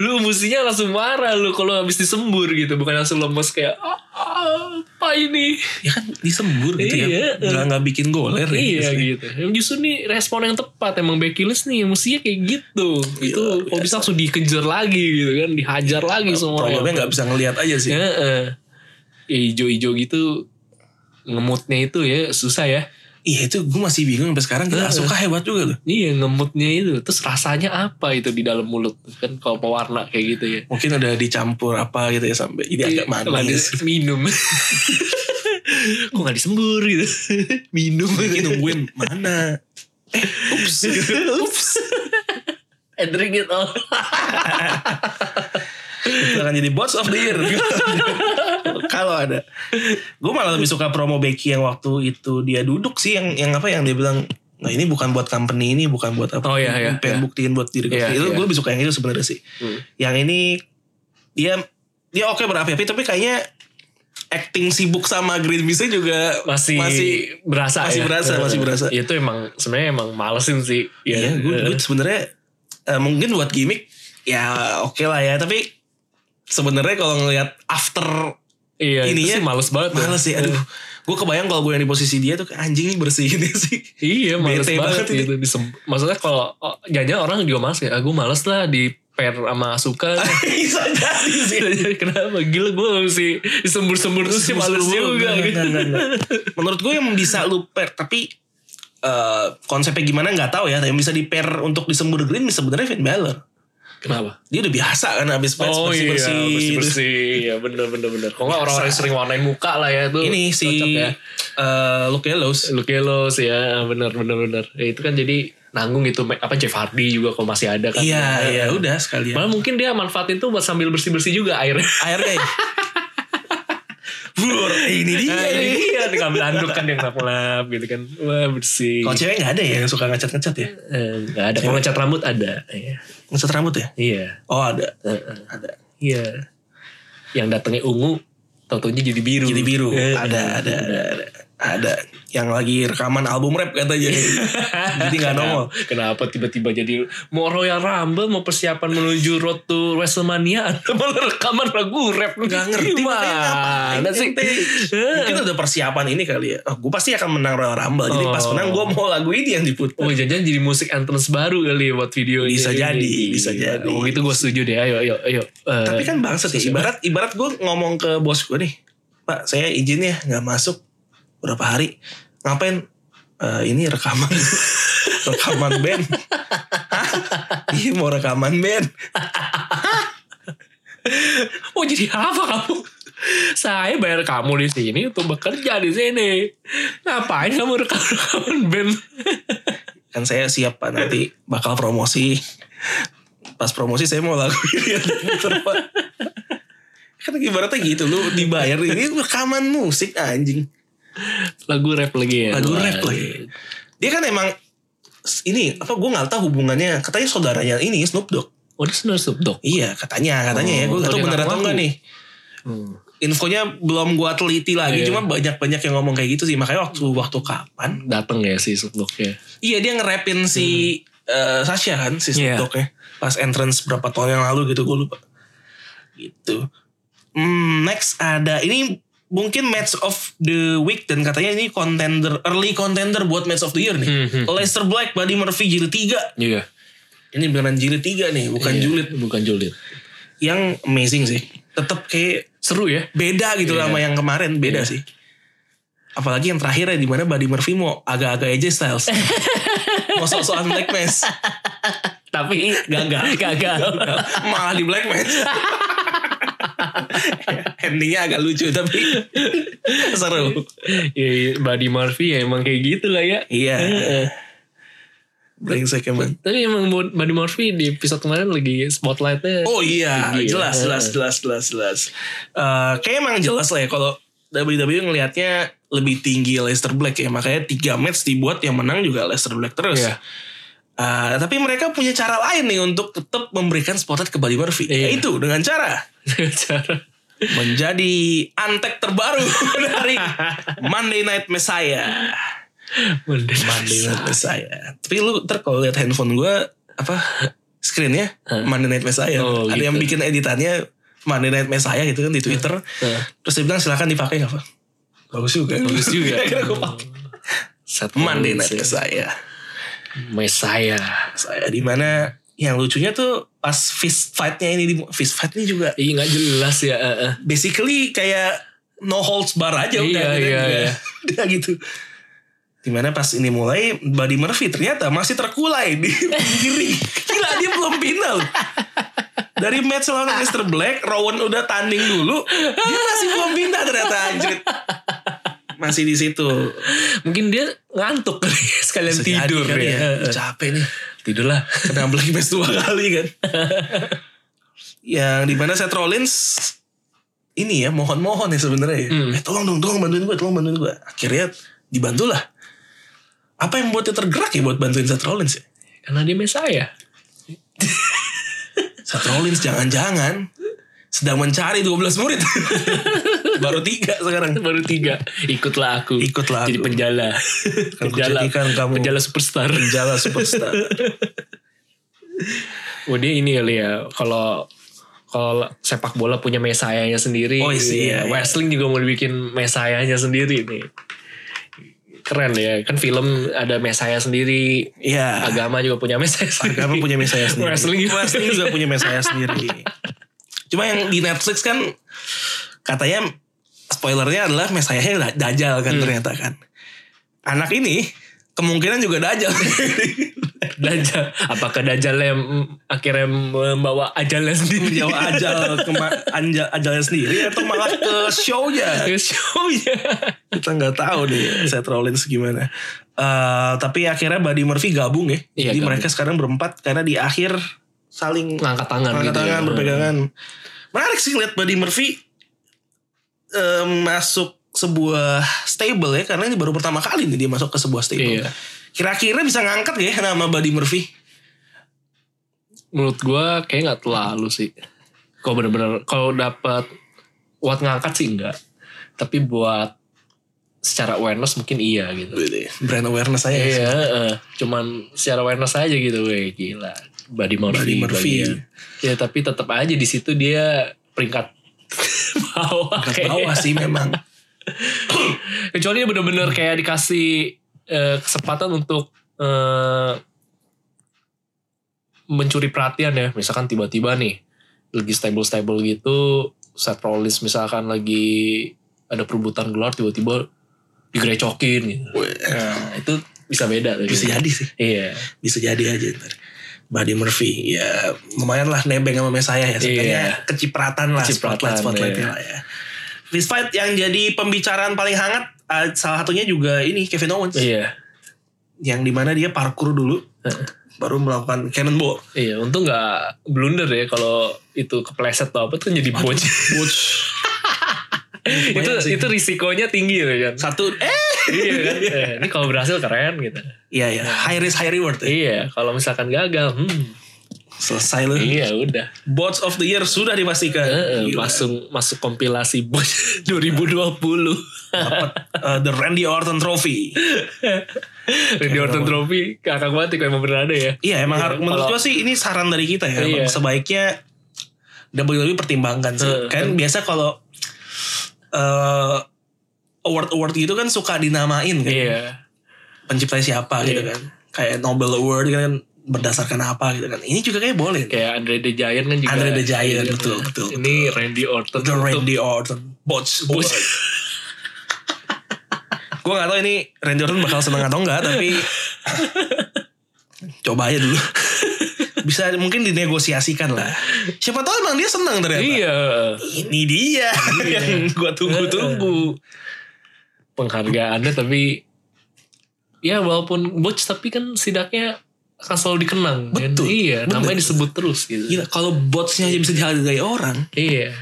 lu mestinya langsung marah lu kalau habis disembur gitu bukan langsung lemes kayak "Ah, ah, apa ini ya kan disembur gitu Iya. ya nggak nggak bikin goler ya Iya Maksudnya. gitu. Emang Justru nih respon yang tepat emang Becky Lynch nih mestinya kayak gitu. Iya, itu kalau bisa langsung dikejar lagi gitu kan, dihajar lagi semua orang. problemnya nggak bisa ngelihat aja sih Ya, eh. Ya, ijo-ijo gitu ngemutnya itu ya susah ya. iya itu gue masih bingung sampai sekarang Eh, kita suka hebat juga loh Iya ngemutnya itu. Terus rasanya apa itu di dalam mulut kan kalau pewarna kayak gitu ya. mungkin udah dicampur apa gitu ya sampai jadi Iya, agak manis Manis, Minum. Kok gak disembur gitu. Minum. Jadi nungguin mana eh, ups ups And drink it all. Itu akan jadi bots of the year kalau ada gue malah lebih suka promo Becky yang waktu itu dia duduk sih yang yang apa yang dia bilang nah ini bukan buat company ini bukan buat apa Oh, iya, iya, pengen iya. buktiin buat diri gue Iya, itu iya. gue lebih suka yang itu sebenarnya sih Hmm. yang ini dia dia oke berapi-api tapi kayaknya acting sibuk sama Green Miss-nya juga masih masih berasa masih ya? berasa, Eh, masih berasa. itu emang sebenarnya emang malesin sih iya gue Eh, gue sebenarnya eh, mungkin buat gimmick ya oke lah ya tapi sebenarnya kalau ngelihat after iya itu ininya sih males banget ya. males sih aduh gue kebayang kalau gue yang di posisi dia tuh kayak, anjing ini bersihin ini sih iya males Bete banget, banget ya. ini. gitu Disem- maksudnya kalau oh, jangan orang juga males ya aku males lah di pair sama Asuka bisa jadi sih Iya, kenapa gila gue mesti disembur-sembur terus sih males juga Enggak, gitu. enggak, enggak, enggak. menurut gue yang bisa lu pair tapi eh, konsepnya gimana nggak tahu ya yang bisa di pair untuk disembur green sebenarnya Finn Balor kenapa dia udah biasa kan abis pes Oh bersih bersih, iya bersih-bersih Iya bener bener bener Kalau nggak orang-orang yang sering warnain muka lah ya itu ini si cocok ya. eh Luke Gallows Luke Gallows ya bener bener bener Ya, itu kan jadi nanggung gitu apa Jeff Hardy juga kalau masih ada kan iya Ya. iya udah sekalian malah mungkin dia manfaatin tuh buat sambil bersih bersih juga airnya airnya Bur, Eh, ini dia Nah, ini. ini dia tinggal ambil anduk kan yang lap lap gitu kan wah bersih Kalau cewek gak ada ya yang suka ngecat-ngecat ya? Eh, nggak ada kalau ngecat rambut ada iya Ngecat rambut ya? iya Oh ada. Eh, eh, Ada. iya yang datangnya ungu tautunya jadi biru Jadi biru. Eh, Ada, ada, ada, ada. Ada. Yang lagi rekaman album rap katanya. Jadi gak nongol. Kenapa tiba-tiba jadi mau Royal Rumble mau persiapan menuju Road to WrestleMania ada malah rekaman lagu rap Gak ngerti makanya ngapain, gimana sih? Eh, ente. Mungkin udah persiapan ini kali ya. Oh, gue pasti akan menang Royal Rumble. Jadi pas Oh. menang gue mau lagu ini yang Oh diputar. jangan jadi musik entrance baru kali ya buat videonya. Bisa Iya, jadi, iya. bisa jadi. Oh itu gue setuju deh, ayo, ayo, ayo. Eh, Tapi kan bangsa sih. Ibarat, ibarat gue ngomong ke bos gue nih. Pak saya izin ya gak masuk berapa hari. Ngapain? Eh, ini rekaman. rekaman band. Hah? Iya mau rekaman band. Oh jadi apa kamu? Saya bayar kamu di sini untuk bekerja di sini. Ngapain kamu rekaman band? kan saya siap pak nanti bakal promosi pas promosi saya mau lagu ini yang diputer, Pak. kan ibaratnya gitu lu dibayar ini rekaman musik anjing Lagu rap lagi ya. lagu Wah, rap lagi dia kan emang ini apa gue nggak tahu hubungannya katanya saudaranya ini Snoop Dogg Oh, dia sebenarnya Snoop Dogg. iya katanya katanya Oh, ya gue nggak tahu dia bener ngaku atau enggak ngaku. nih Hmm. infonya belum gue teliti lagi Iya. cuma banyak banyak yang ngomong kayak gitu sih makanya waktu waktu kapan Dateng ya si Snoop Dogg ya. Iya dia ngerapin si eh, Sasha kan si Snoop Iya. Dogg-nya. pas entrance berapa tahun yang lalu gitu gue lupa gitu Hmm, next ada ini mungkin match of the week dan katanya ini contender early contender buat match of the year nih Hmm, hmm. Lester Black Buddy Murphy jilid 3 Iya. ini beneran jilid 3 nih bukan Iya, julid Bukan julid. yang amazing sih tetap kayak Seru ya. beda gitu Iya. sama yang kemarin beda Iya. sih apalagi yang terakhir ya di mana Buddy Murphy mau agak-agak aja Styles mau sok-sokan Black Mass Tapi Gagal. Gagal. malah di black man endingnya agak lucu tapi seru Iya, iya, Buddy Murphy ya emang kayak gitu lah ya. iya Heeh. brengsek emang Tapi emang Bu- Buddy Murphy di episode kemarin lagi spotlightnya. oh iya Tinggi ya. jelas jelas jelas jelas jelas Eh, kayak emang jelas lah ya kalau WWE ngelihatnya lebih tinggi Leicester Black ya makanya tiga match dibuat yang menang juga Leicester Black terus Iya. Eh, tapi mereka punya cara lain nih untuk tetap memberikan spotlight ke Buddy Murphy Iya. yaitu dengan cara Cara. menjadi antek terbaru dari Monday Night Messiah. Monday Night Messiah. Tapi lu ntar kalau lihat handphone gue apa screennya Monday Night Messiah. Oh, Ada gitu. yang bikin editannya Monday Night Messiah gitu kan di Twitter. Iya. Terus dia bilang silakan dipakai apa? Bagus juga. Bagus juga. Hmm. Akhirnya gua pakai. ya. Set Monday Night Messiah. Messiah. Messiah. Saya di mana yang lucunya tuh pas fist fight-nya ini di fist fight ini juga Iya nggak jelas ya. eh, eh. basically kayak no holds bar aja udah Iya, gitu iya, dia, iya. dia gitu dimana pas ini mulai Buddy Murphy ternyata masih terkulai di kiri gila dia belum final dari match lawan Mr. Black Rowan udah tanding dulu dia masih belum pindah ternyata anjir masih di situ Mungkin dia ngantuk kali ya, sekalian Bisa jadi tidur kali ya. Eh, eh. capek nih Tidurlah. kena black match dua kali kan yang dimana Seth Rollins ini ya mohon-mohon ya sebenarnya ya. Hmm. eh tolong dong tolong bantuin gue tolong bantuin gue akhirnya dibantulah apa yang buat dia tergerak ya buat bantuin Seth Rollins ya Karena dia Messiah. Seth Rollins jangan-jangan sedang mencari 12 murid baru tiga sekarang Baru tiga. Ikutlah aku. Ikutlah Jadi aku. penjala. Akan penjala. kujadikan kamu. Hmm. Penjala superstar. penjala superstar Oh dia ini kali ya. Kalau kalau sepak bola punya mesayanya sendiri. Oh, isi, Iya. iya, iya. Wrestling juga mau bikin mesayanya sendiri nih. Keren ya. Kan film ada mesaya sendiri. ya Agama juga punya mesaya sendiri. agama punya mesaya sendiri Wrestling juga. Wrestling juga punya mesaya sendiri cuma yang di Netflix kan katanya spoilernya adalah mesayanya da- dajal Hmm. kan ternyata kan anak ini kemungkinan juga dajal Dajjal. Apakah Dajjal yang mm, akhirnya membawa ajalnya sendiri? jauh ajal ke ma- anja- ajalnya sendiri atau malah ke shownya Show ya. kita nggak tahu nih Seth Rollins gimana Eh, tapi akhirnya Buddy Murphy gabung ya Iya, jadi gabung. mereka sekarang berempat karena di akhir saling Ngangkat tangan Angkat gitu tangan, ya. berpegangan. Menarik sih ngeliat Buddy Murphy eh, masuk sebuah stable ya karena ini baru pertama kali nih dia masuk ke sebuah stable. Iya. Kira-kira bisa ngangkat gak ya nama Buddy Murphy? Menurut gue kayak nggak terlalu sih. Kalau bener-bener kalau dapat buat ngangkat sih enggak. Tapi buat secara awareness mungkin iya gitu. Brand awareness saya. Iya, eh. cuman secara awareness aja gitu, weh gila. Buddy Murphy. Buddy Murphy. bagian. Ya tapi tetap aja di situ dia peringkat bawah. Angkat kayaknya. bawah sih memang. kecuali dia bener-bener kayak dikasih eh, kesempatan untuk eh, mencuri perhatian ya misalkan tiba-tiba nih lagi stable-stable gitu Seth Rollins misalkan lagi ada perebutan gelar tiba-tiba digrecokin gitu nah itu bisa beda tuh. Bisa jadi sih. iya Bisa jadi aja ntar. Buddy Murphy ya lumayan lah nebeng sama saya ya. Sebenarnya Iya. kecipratan lah Kecipratan, spotlight spotlightnya iya. lah ya. Despite yang jadi pembicaraan paling hangat eh, salah satunya juga ini Kevin Owens. iya yang dimana dia parkur dulu baru melakukan cannonball. Iya, untung nggak blunder ya kalau itu kepleset atau apa tuh jadi boj. Butch. itu Lumayan sih. itu risikonya tinggi ya kan. Satu eh iya kan. Eh, ini kalau berhasil keren gitu. iya ya high risk high reward ya. Iya, kalau misalkan gagal, hmm, Selesai lu. iya udah. Bots of the year sudah dipastikan. Eh, eh, Gila. masuk masuk kompilasi boj 2020. Dapat eh, the Randy Orton Trophy. Randy Orton Trophy kakak banget ya, emang bener ada ya. Iya emang Iya, har- menurut gua kalau- sih ini saran dari kita ya. Iya. Emang Sebaiknya WWE pertimbangkan sih. Heeh. kan biasa kalau eh award award gitu kan suka dinamain kan. Iya. Pencipta siapa gitu Iya. kan. Kayak Nobel Award kan berdasarkan apa gitu kan. Ini juga kayak boleh. Kayak Andre the Giant kan juga. Andre the Giant, Iya, betul, kan. betul, Ini Randy Orton. The untuk- Randy Orton Bots Bots. Gue gak tau ini Randy Orton bakal seneng atau enggak Tapi Coba aja dulu Bisa mungkin dinegosiasikan lah Siapa tahu emang dia seneng ternyata Iya. Ini dia Yang gue tunggu-tunggu Penghargaannya tapi ya walaupun botch tapi kan setidaknya akan selalu dikenang. kan? Betul, Iya, bener. namanya disebut terus gitu. Gila kalau botsnya aja bisa dihargai orang Iya.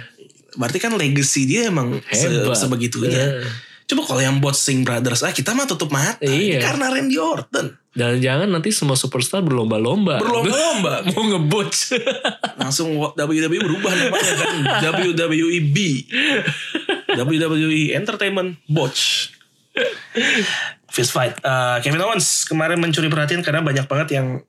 Berarti kan legacy dia emang se- Hebat. Sebegitunya Nah, Eh. Coba kalau yang bots Sing Brothers ah, Kita mah tutup mata Iya. Karena Randy Orton Dan jangan nanti semua superstar berlomba-lomba. Berlomba-lomba mau ngebotch. langsung WWE E berubah namanya kan WWEB WWE E Entertainment Botch Fist fight Eh, Kevin Owens kemarin mencuri perhatian karena banyak banget yang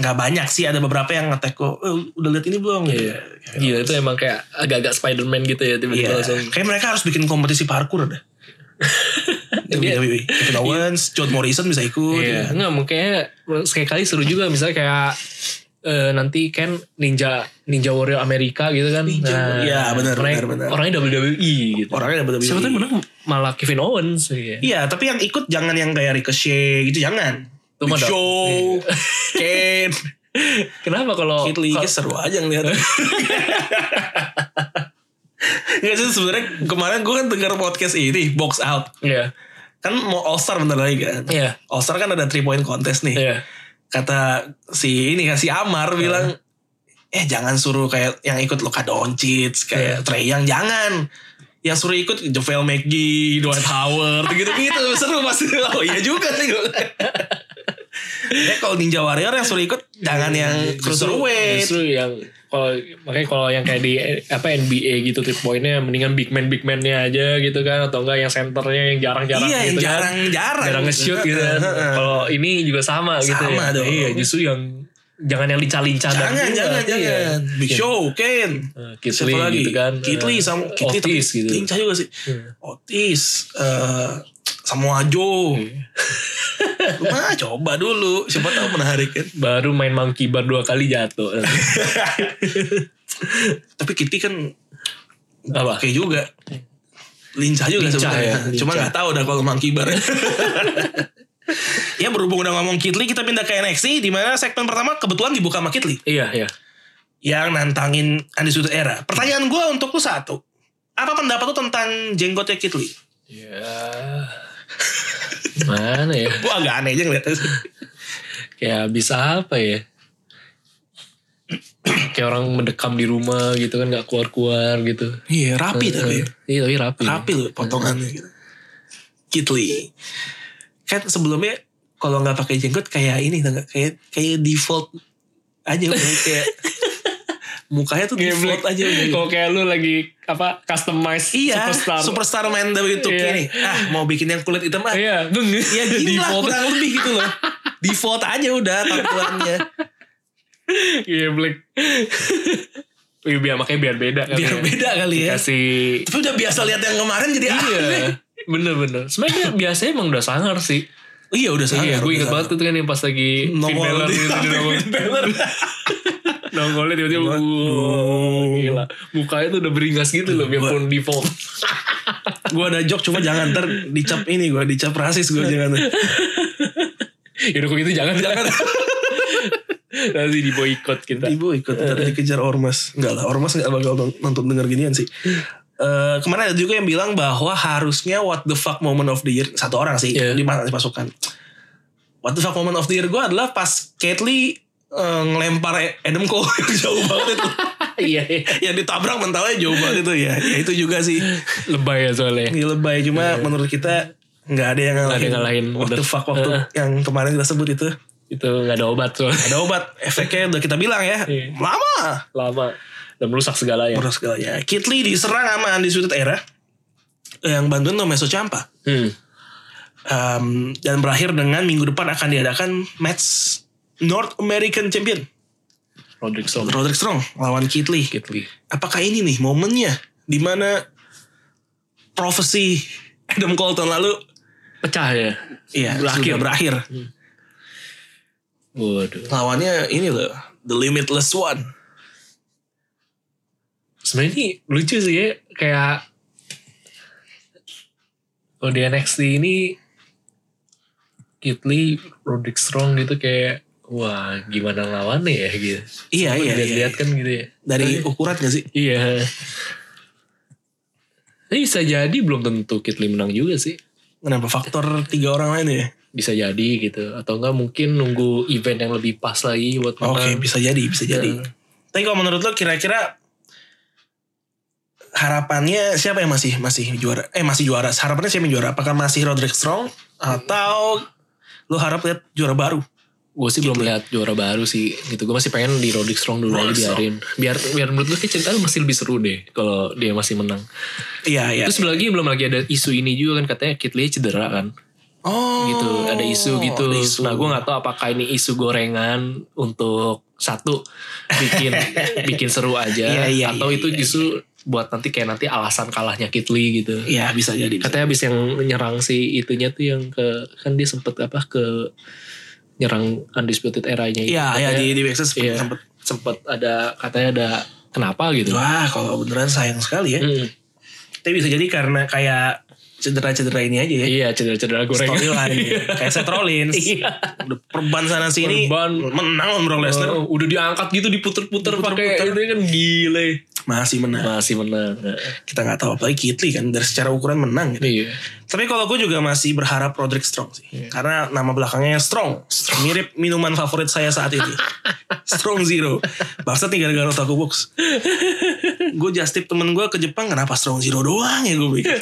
nggak banyak sih ada beberapa yang ngetek kok "Eh, udah lihat ini belum Iya. Gila itu emang kayak agak-agak Spider-Man gitu Iya, ya tiba-tiba langsung. kayak mereka harus bikin kompetisi parkour dah. WWE, E. Kevin Owens, John Morrison bisa ikut. ya. Iya, enggak mungkin sekali-kali seru juga misalnya kayak eh, nanti kan ninja ninja warrior Amerika gitu kan. Ninja Warrior. Iya, benar, orangnya- benar, benar. Orangnya WWE gitu. Orangnya WWE. Siapa tahu menang malah Kevin Owens E. ya. Iya, tapi yang ikut jangan yang kayak Ricochet gitu, jangan. Itu Big mah dah- Iya. Show, Kane, Kenapa kalau Kid Lee, kalau- seru aja ngeliat. Gak sih sebenarnya kemarin gue kan dengar podcast ini box out Iya. kan mau All Star bentar lagi kan. Iya. All Star kan ada three point contest nih. Iya. Kata si ini kan si Amar bilang eh jangan suruh kayak yang ikut Luka Doncic Iya. kayak Trey Young jangan. Yang suruh ikut JaVale McGee, Dwight Howard gitu-gitu seru pasti. Oh iya juga sih gue. Ya kalau Ninja Warrior yang suruh ikut jangan yang Eh, cruiserweight. Iya, Justru yang kalau makanya kalau yang kayak di eh, apa NBA gitu three pointnya mendingan big man big man-nya aja gitu kan atau enggak yang senternya yang jarang-jarang iya, yang gitu kan. jarang-jarang. jarang nge-shoot gitu kan. Kalau ini juga sama, gitu Sama ya. dong. Iya, justru yang jangan yang lincah-lincah dan Jangan, juga. jangan, Iya. jangan. Big Show, Ken. Eh, Kid Lee gitu kan. Kid Eh, Lee sama Kid Lee tapi Otis gitu. Lincah juga sih. Otis. eh Samoa Iya. Joe. Nah, coba dulu. Siapa tahu menarik kan. Baru main monkey bar dua kali jatuh. Tapi Kid Lee kan Apa? oke juga. Lincah juga Lincah sebenarnya. ya, Cuma lincah. nggak tahu dah kalau Monkey Bar. ya berhubung udah ngomong Kid Lee, kita pindah ke NXT. di mana segmen pertama kebetulan dibuka sama Kid Lee. Iya, iya. yang nantangin Undisputed Era. Pertanyaan gue untuk lu satu. Apa pendapat lu tentang jenggotnya Kid Lee? Ya. Mana ya? Gue agak aneh aja ngeliatnya sih. Kayak bisa apa ya? Kayak orang mendekam di rumah gitu kan nggak keluar-keluar gitu. Iya, rapi tapi. Eh, Iya, tapi rapi. Rapi loh potongannya gitu. Kid Lee. Kan sebelumnya kalau nggak pakai jenggot kayak ini tau nggak? kayak kayak default aja udah kayak mukanya tuh default aja udah gitu. Kalau kayak lu lagi apa customize Iya, superstar. superstar, main WWE 2K Iya. nih. Ah, mau bikin yang kulit hitam ah. Iya, dong. Ya gini lah kurang lebih gitu loh. Default aja udah tampilannya. Iya, black. Iya, biar makanya biar beda kan. Biar beda kali ya. Kasih Tapi udah biasa lihat yang kemarin jadi aneh. Iya. Bener-bener. Sebenarnya dia biasanya emang udah sangar sih. Iya udah sangar. iya, gue udah inget sangar. banget tuh kan yang pas lagi Nongol di gitu, di samping nongol. Finn Balor. Nongolnya tiba-tiba wuh, gila. Mukanya tuh udah beringas gitu loh biarpun default. gue ada joke cuma jangan ter dicap ini gue dicap rasis gue jangan. Yaudah kok gitu jangan jangan. Nanti di boykot kita. Ibu ikut ntar dikejar ormas. Enggak lah ormas nggak bakal nont- nonton denger ginian sih. Eh kemarin ada juga yang bilang bahwa harusnya what the fuck moment of the year satu orang sih Iya. di mana pasukan what the fuck moment of the year gue adalah pas Kately eh, ngelempar Adam Cole jauh banget itu. Iya, iya. yang ditabrak mentalnya jauh banget itu ya. ya itu juga sih. lebay ya soalnya. Ini lebay cuma menurut kita Iya, nggak ada yang ngalahin. Nggak ada yang ngalahin. What the Udah. fuck waktu yang kemarin kita sebut itu. Itu nggak ada obat soalnya. Ada obat efeknya udah kita bilang ya. Iya. Lama. Lama dan merusak ya. segalanya. Terus segalanya. Kit Lee diserang sama Undisputed Era. Yang bantuin Tommaso Ciampa. Hmm. Um, dan berakhir dengan minggu depan akan diadakan match North American Champion. Roderick Strong. Roderick Strong lawan Kit Lee. Kit Lee. Apakah ini nih momennya dimana profesi Adam Cole tahun lalu Pecah ya. iya, Berakhir. sudah berakhir. Waduh. Lawannya ini loh, The Limitless One. Sebenarnya ini lucu sih ya. Kayak kalau di NXT ini Kit Lee, Roderick Strong gitu kayak wah gimana lawannya ya gitu. Iya, iya, iya. Lihat-lihat kan gitu ya. Dari ukuran gak sih? Iya. Tapi bisa jadi belum tentu Kit Lee menang juga sih. Kenapa faktor tiga orang lain ya? Bisa jadi gitu. Atau enggak mungkin nunggu event yang lebih pas lagi buat Oke, menang. bisa jadi, bisa Iya. jadi. Tapi kalau menurut lo kira-kira harapannya siapa yang masih masih juara? Eh masih juara. Harapannya siapa yang juara? Apakah masih Roderick Strong atau lo harap lihat juara baru? Gue sih Gitu ya. belum lihat juara baru sih gitu. Gue masih pengen di Roderick Strong dulu aja Roderick biarin. Biar biar menurut gue kayak cerita lu masih lebih seru deh kalau dia masih menang. Iya, iya. Terus lagi belum lagi ada isu ini juga kan katanya Kit Lee cedera kan. Oh, Gitu, ada isu gitu. ada isu. Nah, gue nggak tahu apakah ini isu gorengan untuk satu bikin bikin seru aja Iya, iya, atau iya, itu iya, justru buat nanti kayak nanti alasan kalahnya Kit Lee gitu. Iya, bisa jadi. bisa. Katanya abis yang nyerang si itunya tuh yang ke kan dia sempet apa ke nyerang undisputed eranya itu. Iya, iya Katanya- di di Backstage Iya. sempet- sempet ada katanya ada kenapa gitu. Wah, kalau beneran sayang sekali ya. Mm. Tapi bisa jadi karena kayak cedera-cedera ini aja ya. Iya cedera-cedera goreng. Storyline. kayak Seth Rollins. Iya. Udah perban sana sini. Perban. Menang on Brock Lesnar. Oh, udah diangkat gitu diputer-puter pakai Diputer-puter. itu kan gile. Masih menang. Masih menang. Kita nggak tahu apalagi Kitli kan dari secara ukuran menang gitu. Iya. Tapi kalau gue juga masih berharap Roderick Strong sih. Karena nama belakangnya Strong. Mirip minuman favorit saya saat ini. Strong Zero. Bangsat nih gara-gara Otaku Box. gue just tip temen gue ke Jepang kenapa Strong Zero doang ya gue pikir.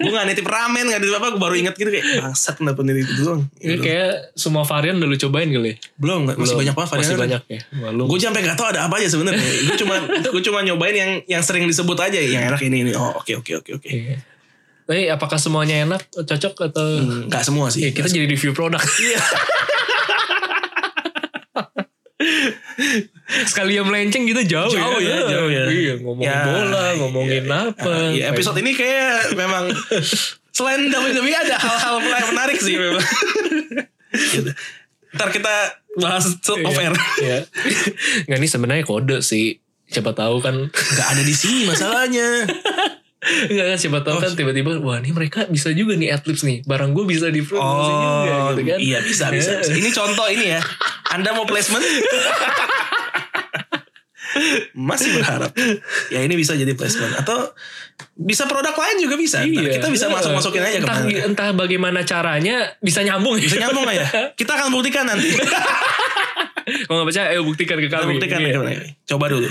gue gak nitip ramen, gak nitip apa. Gue baru inget gitu kayak bangsat kenapa nitip itu doang. Ini Iya, kayak semua varian udah lu cobain kali. ya? Belum, nggak- masih Belum. banyak banget. Masih varian. banyak ya. Malu. Gue sampai gak tau ada apa aja sebenarnya. gue cuma gue cuma nyobain yang yang sering disebut aja. Yang enak ini ini. Oh oke oke oke oke. Iya. Tapi apakah semuanya enak, cocok atau Gak semua sih. Iya. Ya, kita jadi review produk. Sekali yang melenceng kita jauh, Jauh ya, jauh ya. Iya, ngomongin Ya, bola, iya, ngomongin apa. Ah, iya, episode ini kayak memang selain WWE ada hal-hal yang menarik sih memang. Gitu. Ntar kita bahas Iya, off air. Iya. Nggak, ini sebenarnya kode sih. Siapa tahu kan Gak ada di sini masalahnya. Enggak kan siapa Oh. tahu kan tiba-tiba wah ini mereka bisa juga nih adlibs nih. Barang gue bisa di promosi juga Oh, gitu kan. iya bisa, bisa, bisa. Ini contoh ini ya. Anda mau placement? Masih berharap. Ya ini bisa jadi placement atau bisa produk lain juga bisa. Ntar Iya. Kita bisa Iya. masuk masukin aja entah, kemana. entah bagaimana caranya bisa nyambung Bisa gitu. nyambung gak ya? Kita akan buktikan nanti. Kalau nggak percaya ayo buktikan ke Kita kami. buktikan Iya. ya, Bang. Coba dulu.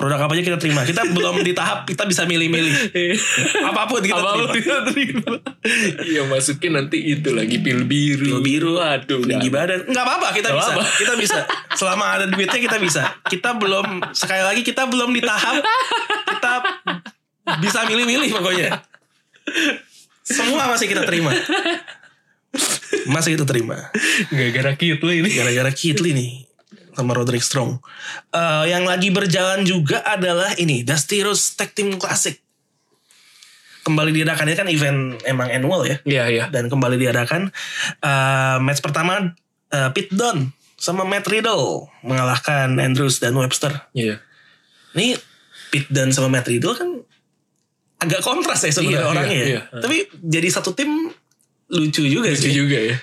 Produk apa aja kita terima. Kita belum di tahap kita bisa milih-milih. Apapun kita Apa terima. kita terima. Iya masukin nanti itu lagi pil Pil biru. biru. Aduh. Tinggi nggak. badan. Enggak apa-apa, kita Nggak bisa. apa-apa. Kita bisa. Selama ada duitnya kita bisa. Kita belum sekali lagi kita belum di tahap kita bisa milih-milih pokoknya. Semua masih kita terima. Masih kita terima. Gara-gara gitu ini. Gara-gara Kitli nih sama Roderick Strong. Eh, yang lagi berjalan juga adalah ini Dusty Rhodes Tag Team Classic. Kembali diadakan ini kan event emang annual ya Iya iya. dan kembali diadakan Eh, match pertama eh, Pete Dunne sama Matt Riddle mengalahkan Andrews dan Webster. Iya. Ini Pete Dunne sama Matt Riddle kan agak kontras ya sebenarnya Iya, iya, orangnya ya. iya. Tapi jadi satu tim lucu juga Lucu sih. juga ya.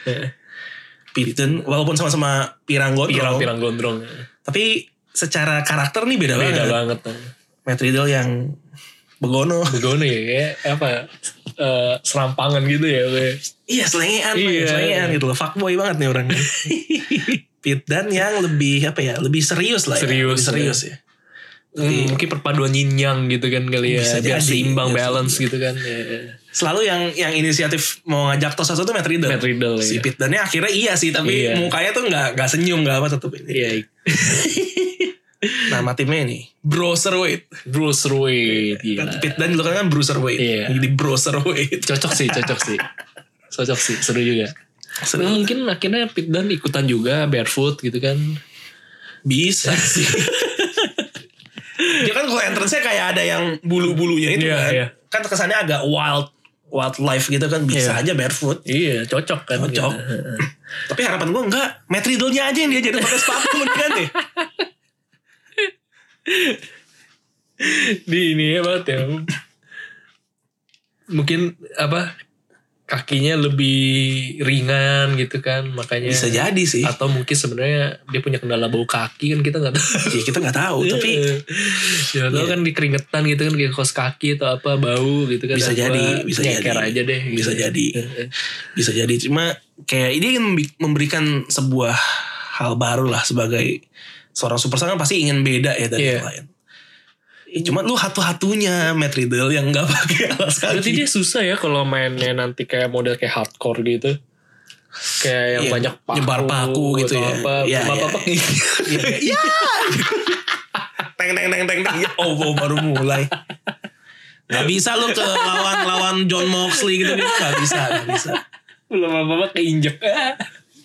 Pete Dunne walaupun sama-sama pirang gondrong, Pirang-pirang gondrong. tapi secara karakter nih beda, Beda banget. banget. Matt Riddle yang begono. Begono ya kayak apa eh, serampangan gitu ya. gue. Iya selengean, Iya. iya. selengean gitu loh. Fuckboy banget nih orangnya. Pit dan yang lebih apa ya? Lebih serius lah. ya. Serius, iya. Lebih serius ya. Lebih- Hmm, mungkin perpaduan yin yang gitu kan kali ya. Bisa biar jadi, iya, seimbang bisa balance jadi. gitu kan. Ya, ya. Selalu yang yang inisiatif mau ngajak tos satu tuh Matt Riddle. Matt Riddle, si iya. Pit Dunne akhirnya iya sih, tapi Iya. mukanya tuh nggak nggak senyum nggak apa tetep ini. Iya, Nama timnya ini Broserweight. Bruce Wayne. gila. Pit Dunne dulu Iya, kan kan Bruiserweight. Iya. Jadi Broserweight. Cocok sih, cocok sih. Cocok sih, seru juga. Nah, Seru. mungkin akhirnya Pit Dunne ikutan juga barefoot gitu kan. Bisa sih. Dia kan kalau entrance-nya kayak ada yang bulu-bulunya itu Iya, kan. iya. Kan kesannya agak wild wildlife gitu kan bisa Iya. aja barefoot. Iya, cocok kan. Cocok. Tapi harapan gue enggak Matt Riddle-nya aja yang dia jadi pakai sepatu mendingan deh. Di ini ya banget ya. Mungkin apa kakinya lebih ringan gitu kan makanya Bisa jadi sih. atau mungkin sebenarnya dia punya kendala bau kaki kan kita nggak tahu Ya, kita nggak tahu Iya. tapi ya tahu Iya. kan di keringetan gitu kan kayak kos kaki atau apa bau gitu kan bisa apa, jadi bisa jadi nyeker aja deh gitu. bisa jadi bisa jadi cuma kayak ini ingin membi- memberikan sebuah hal baru lah sebagai seorang superstar kan pasti ingin beda ya dari Iya. yang lain Ya, cuma lu hatu-hatunya Matt Riddle yang nggak pakai alas Berarti kaki dia susah ya kalau mainnya nanti kayak model kayak hardcore gitu. Kayak yang Iya, banyak paku. nyebar paku gitu atau ya. Apa, Iya, bapak-bapak iya. gitu. ya teng teng teng teng teng oh, oh, baru mulai nggak bisa lu ke lawan lawan John Moxley gitu gitu nggak bisa nggak bisa Belum bapak-bapak keinjek.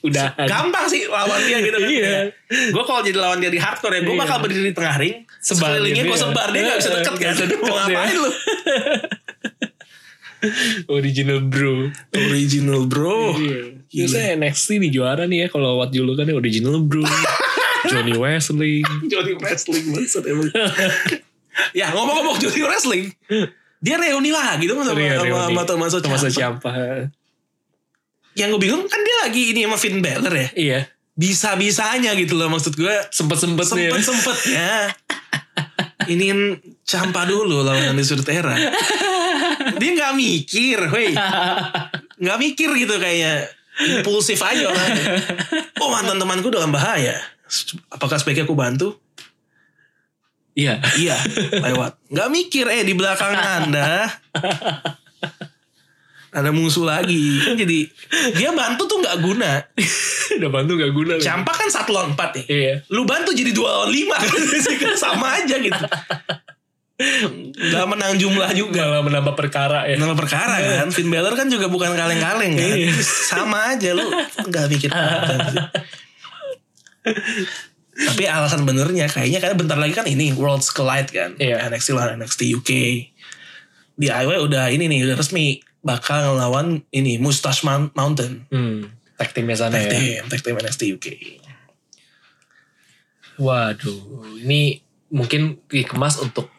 Ah, Udahan. gampang sih lawan dia gitu kan. Iya. Gue kalau jadi lawan dia di hardcore ya, gue Iya. bakal berdiri di tengah ring. Sebarin, sekelilingnya gue iya. sebar dia gak bisa Iya, deket nggak kan. bisa deket Mau dia. ngapain lu? Original bro. Original bro. Iya. Biasanya NXT nih juara nih ya kalau Wat Julu kan ya original bro. Johnny Wesley. Johnny Wrestling maksud emang. ya ngomong-ngomong Johnny Wrestling. Dia reuni lagi dong sama, Iya, sama, reuni. sama Tommaso Ciampa. Masa siapa? Yang gue bingung kan dia lagi ini sama Finn Balor ya. Iya. Bisa-bisanya gitu loh maksud gue. Sempet-sempet nih. ya. Sempet-sempetnya. Ini kan campa dulu lawan Andi Surtera. Dia nggak mikir, woi. Nggak mikir gitu kayaknya. Impulsif aja orangnya. Oh mantan temanku dalam bahaya. Apakah sebaiknya aku bantu? Iya. Iya, lewat. Nggak mikir, eh di belakang anda. Ada musuh lagi. Kan jadi dia bantu tuh nggak guna. Udah bantu gak guna. lagi. Campa kan satu lawan empat nih Iya. lu bantu jadi dua lawan lima sama aja gitu Gak menang jumlah juga Malah menambah perkara ya. Nama perkara kan Finn Balor kan juga bukan kaleng-kaleng kan Iya. Sama aja lu Gak mikir apa-apa sih. Tapi alasan benernya Kayaknya karena bentar lagi kan ini Worlds Collide kan Iya. NXT lawan NXT UK Di IW udah ini nih Udah resmi Bakal ngelawan ini Mustache Mount- Mountain Hmm. Tag teamnya sana Tag ya. team Tag team NXT UK Waduh, ini mungkin dikemas untuk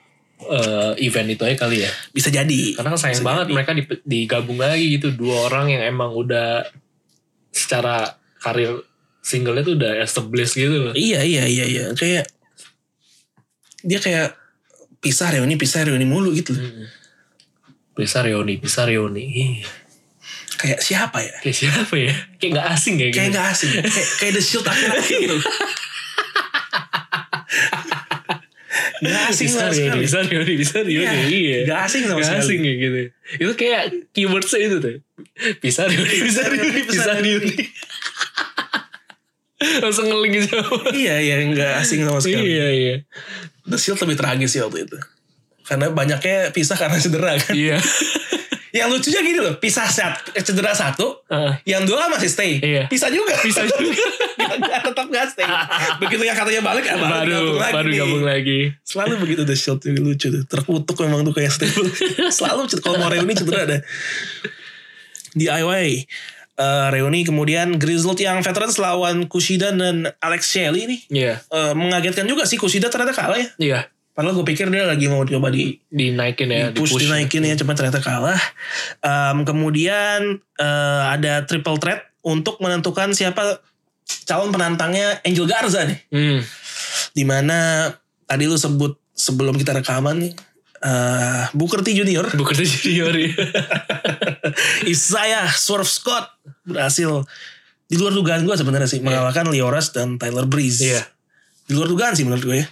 eh, event itu aja kali ya. Bisa jadi Karena kan sayang Bisa banget jadi. mereka dip- digabung lagi gitu dua orang yang emang udah secara karir singlenya tuh udah established gitu loh. Iya iya iya iya kayak dia kayak pisah reuni pisah reuni mulu gitu. loh. Bisa reuni, bisa reuni. Ih, Kayak siapa ya? Kayak siapa ya? Kayak gak asing ya Kayak gitu. nggak asing. kayak, kayak The Shield akhir-akhir gitu. Nggak asing bisa sama reuni, sekali. bisa reuni, bisa reuni. Iya, Iya. nggak asing sama Nggak sekali. asing ya gitu. Itu kayak keywordsnya itu tuh. Bisa reuni, bisa reuni, bisa reuni. Langsung ngeling gitu. Iya iya nggak asing sama sekali. Iya, iya. The Shield lebih tragis sih waktu itu. Karena banyaknya pisah karena cedera kan. Iya. Yang lucunya gini loh, pisah saat cedera satu, Heeh. yang dua kan masih stay. Iya. Pisah juga. Bisa juga. Nggak- nggak, tetap nggak stay. Begitu yang katanya balik, ya baru, Baru, gabung lagi baru nih. gabung lagi. Selalu begitu The Shield juga lucu tuh. Terkutuk memang tuh kayak stable. Selalu cet- kalau mau reuni cedera ada. DIY. Eh reuni kemudian Grizzled yang veterans lawan Kushida dan Alex Shelley nih. Iya. Eh, mengagetkan juga sih Kushida ternyata kalah ya. Iya. Padahal gue pikir dia lagi mau coba di Dinaikin ya. push di-push. dinaikin ya, cuma ternyata kalah. Em, kemudian eh, ada triple threat untuk menentukan siapa calon penantangnya Angel Garza nih Hmm. dimana tadi lu sebut sebelum kita rekaman nih eh Booker T Junior, Bukan junior ya. Isaiah Swerve Scott berhasil di luar dugaan gue sebenarnya sih mengalahkan Lioras dan Tyler Breeze. Iya. Hmm. Di luar dugaan sih menurut gue ya.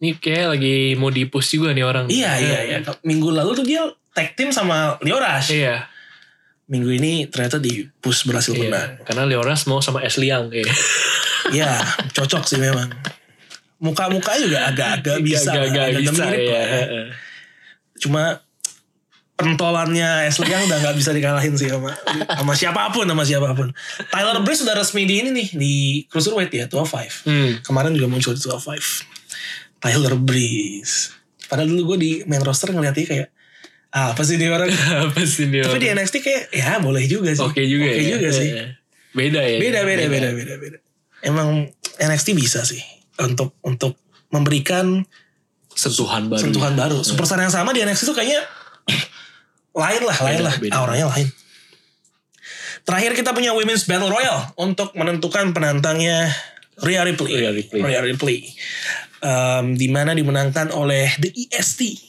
Ini kayak lagi mau dipus juga nih orang. Iya iya iya. Minggu lalu tuh dia tag team sama Lioras. Hmm. Iya. Minggu ini ternyata di push berhasil Iya. menang. Karena Leoras mau sama Ashley Young kayaknya. Iya cocok sih memang. Muka-muka juga agak-agak bisa. Gak, gak, agak-agak bisa mirip ya. lah. Cuma pentolannya Ashley Young udah nggak bisa dikalahin sih sama sama siapapun sama siapapun. Tyler Breeze sudah resmi di ini nih di cruiserweight ya 205. Hmm. Kemarin juga muncul di 205. Tyler Breeze. Padahal dulu gue di main roster ngeliatnya kayak ah, apa sih dia orang. Apa sih dia? Tapi di orang? NXT kayak ya boleh juga sih. Iya. Oke juga Oke ya. juga sih. Iya. Beda ya. Beda beda beda beda beda. Emang NXT bisa sih untuk untuk memberikan Sentuhan baru. sentuhan baru. Superstar yang sama di NXT tuh kayaknya lain lah, lain Beda, lah. beda. Auranya lain. Terakhir kita punya Women's Battle Royal untuk menentukan penantangnya Rhea Ripley. Rhea Ripley. Rhea Ripley. Em, di mana dimenangkan oleh The EST.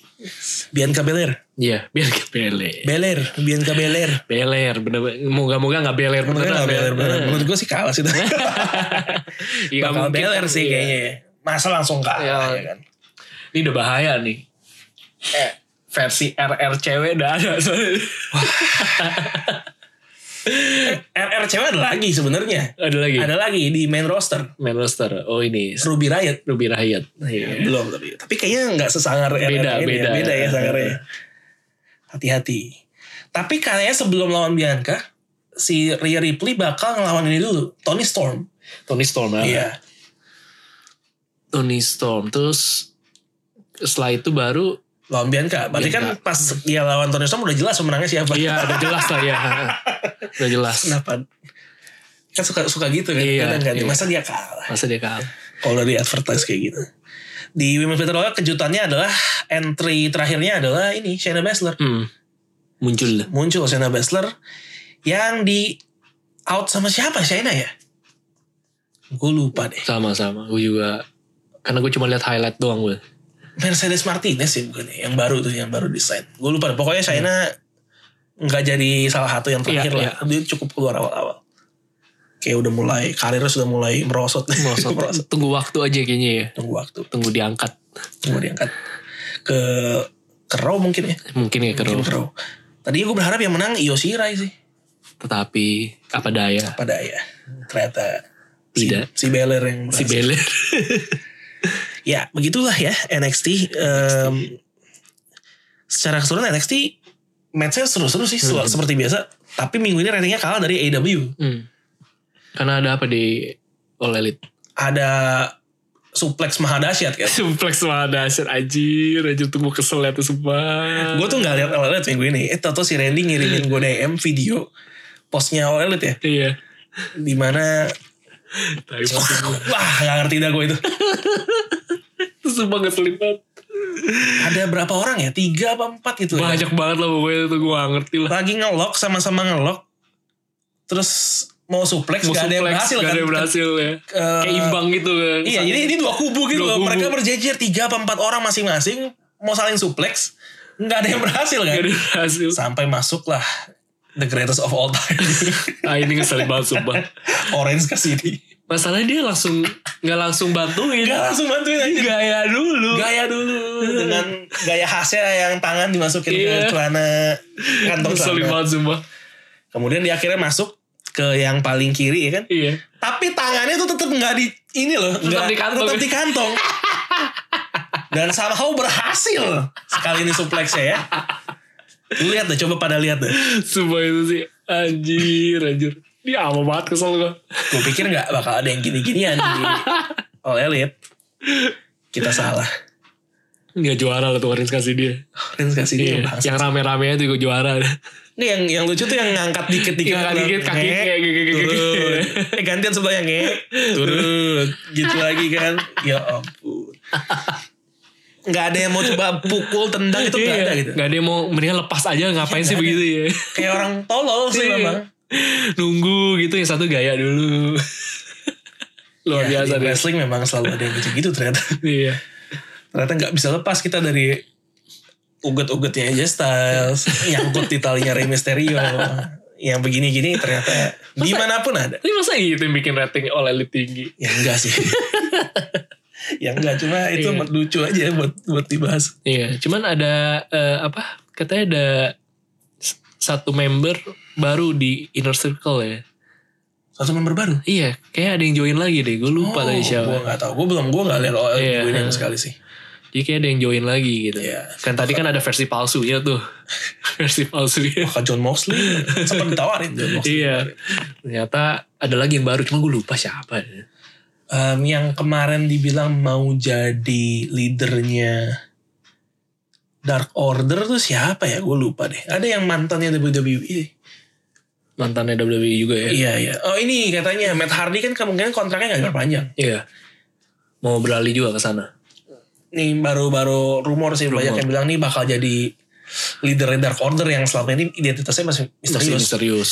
Bianca Belair. Iya. Biar ke Belair. Belair, Bianca Belair. Belair. Bener Moga-moga gak Belair Menurut gue beneran. nggak Belair ya. beneran. Menurut gue sih kalah sih. Iya, nggak Bakal mungkin Belair kan, sih iya. kayaknya. ya. Masa langsung kalah Iya. ya kan. Ini udah bahaya nih. Eh, versi RR cewek udah ada. soalnya. RR cewek ada lagi sebenarnya. ada lagi. Ada lagi di main roster. Main roster. Oh ini. Ruby Riot. Ruby Riot. Iya. Belum tapi. Tapi kayaknya nggak sesangar RR Beda, ini beda. Iya. ya. Beda ya sangarnya. Hati-hati. Tapi kayaknya sebelum lawan Bianca, si Rhea Ripley bakal ngelawan ini dulu. Tony Storm. Tony Storm. ya. Iya. Tony Storm. Terus setelah itu baru Lawan Bianca. Berarti kan Bianca. pas dia lawan Tony Storm udah jelas pemenangnya siapa. Iya, udah jelas lah ya. Udah jelas. Kenapa? Kan suka suka gitu kan. Iya, Kadang kan. iya. Masa dia kalah. Masa dia kalah. kalau dari advertise kayak gitu. Di Women's Battle Royale kejutannya adalah entry terakhirnya adalah ini Shayna Baszler. Hmm. Muncul. Muncul Shayna Baszler yang di out sama siapa Shayna ya? Gue lupa deh. Sama-sama. Gue juga. Karena gue cuma lihat highlight doang gue. Mercedes Martinez sih bukan ya, yang baru tuh yang baru desain. Gue lupa deh. Pokoknya Shayna nggak jadi salah satu yang terakhir Iya, lah. Dia cukup keluar awal-awal. Kayak udah mulai karirnya sudah mulai merosot. Merosot. merosot. Tunggu waktu aja kayaknya ya. Tunggu waktu. Tunggu diangkat. Tunggu diangkat ke ke Raw mungkin ya. Mungkin ya keruh. Bro. Tadinya gue berharap yang menang Io Shirai sih. Tetapi apa daya. Pada ya. Ternyata. si- Tidak. Si, Beller yang Si berhasil. Belen. Ya begitulah ya NXT. Em, secara keseluruhan NXT. Matchnya seru-seru sih. sel- Seperti biasa. Tapi minggu ini ratingnya kalah dari AEW. Hmm. Karena ada apa di All Elite? Ada suplex mahadasyat kan. Suplex malah dahsyat anjir. Anjir tuh gue kesel liat tuh sumpah. gue tuh gak liat All Elite minggu ini. Eh tau si Randy ngirimin gue DM video. Postnya All Elite ya. Iya. Dimana. Tapi maksud gue. Wah gak ngerti dah gue itu. Terus sumpah ngeselin banget. Ada berapa orang ya? Tiga apa empat gitu ya. Banyak banget lah pokoknya itu gue gak ngerti lah. lagi ngelok sama-sama ngelok terus mau suplex Mau gak ada yang suplex, berhasil Gak kan ada yang berhasil ya. Eh, Kayak imbang gitu kan. iya jadi ini dua kubu gitu Dua loh kubu. mereka berjejer tiga apa empat orang masing-masing mau saling suplex nggak ada yang berhasil Gak kan Iya. ada yang berhasil. sampai masuklah the greatest of all time Ah ini ngeselin banget sumpah. orange ke sini Masalahnya dia langsung nggak langsung bantuin. nggak langsung bantuin aja Gaya dulu. gaya dulu dengan gaya khasnya yang tangan dimasukin ke Iya. celana kantong Ngeselin celana banget sumpah. kemudian dia akhirnya masuk ke yang paling kiri ya kan Iya. tapi tangannya tuh tetap nggak di ini loh nggak- di kantong. tetap di kantong dan somehow berhasil sekali ini supleksnya ya Lu lihat deh coba pada lihat deh Sumpah itu sih. Anjir, anjir. Dia ama banget kesel gue. gue pikir nggak bakal ada yang gini-ginian di All Elite kita salah Nggak juara lah tuh Orange kasih Iya, dia. Rins kasih dia Iya. bahas. Yang rame-ramenya tuh gue juara. Ini yang yang lucu tuh yang ngangkat dikit-dikit. Ngangkat dikit, Ngek, kaki kayak gek, gek, gek, gek. turun. Eh gantian sebelahnya ngek. Turun. gitu lagi kan. Ya ampun. Nggak ada yang mau coba pukul, tendang itu nggak Iya. ada gitu. Iya, Nggak ada yang mau mendingan lepas aja ngapain sih begitu ya. Kayak orang tolol sih Iya. memang. Nunggu gitu yang satu gaya dulu. Luar Ya, di biasa deh. wrestling memang selalu ada yang gitu-gitu ternyata. Iya. Ternyata nggak bisa lepas kita dari uget-ugetnya aja Styles nyangkut di talinya Rey Mysterio yang begini-gini ternyata dimanapun ada Tapi masa gitu yang bikin rating All Elite tinggi? ya enggak sih ya enggak cuma itu Iya. lucu aja buat buat dibahas Iya, cuman ada eh, apa? Katanya ada s- satu member baru di inner circle ya. satu member baru Iya, kayak ada yang join lagi deh. Gue lupa tadi gue siapa. Oh, nggak tahu gue belum gue nggak lihat OL Iya. gue ini sekali sih Jadi kayak ada yang join lagi gitu. Iya. Kan tadi kan ada versi palsunya tuh. versi palsunya. Wah, John Moxley sempat ditawarin John Moxley iya. Ternyata ada lagi yang baru, cuma gue lupa siapa. ya. Em, Um, yang kemarin dibilang mau jadi leadernya Dark Order tuh siapa ya gue lupa deh ada yang mantannya WWE Mantannya WWE juga ya. iya iya oh ini katanya Matt Hardy kan kemungkinan kontraknya nggak diperpanjang Iya. Mau beralih juga ke sana. nih baru-baru rumor sih banyak yang bilang nih bakal jadi leader Dark Order yang selama ini identitasnya masih Masih misterius. misterius.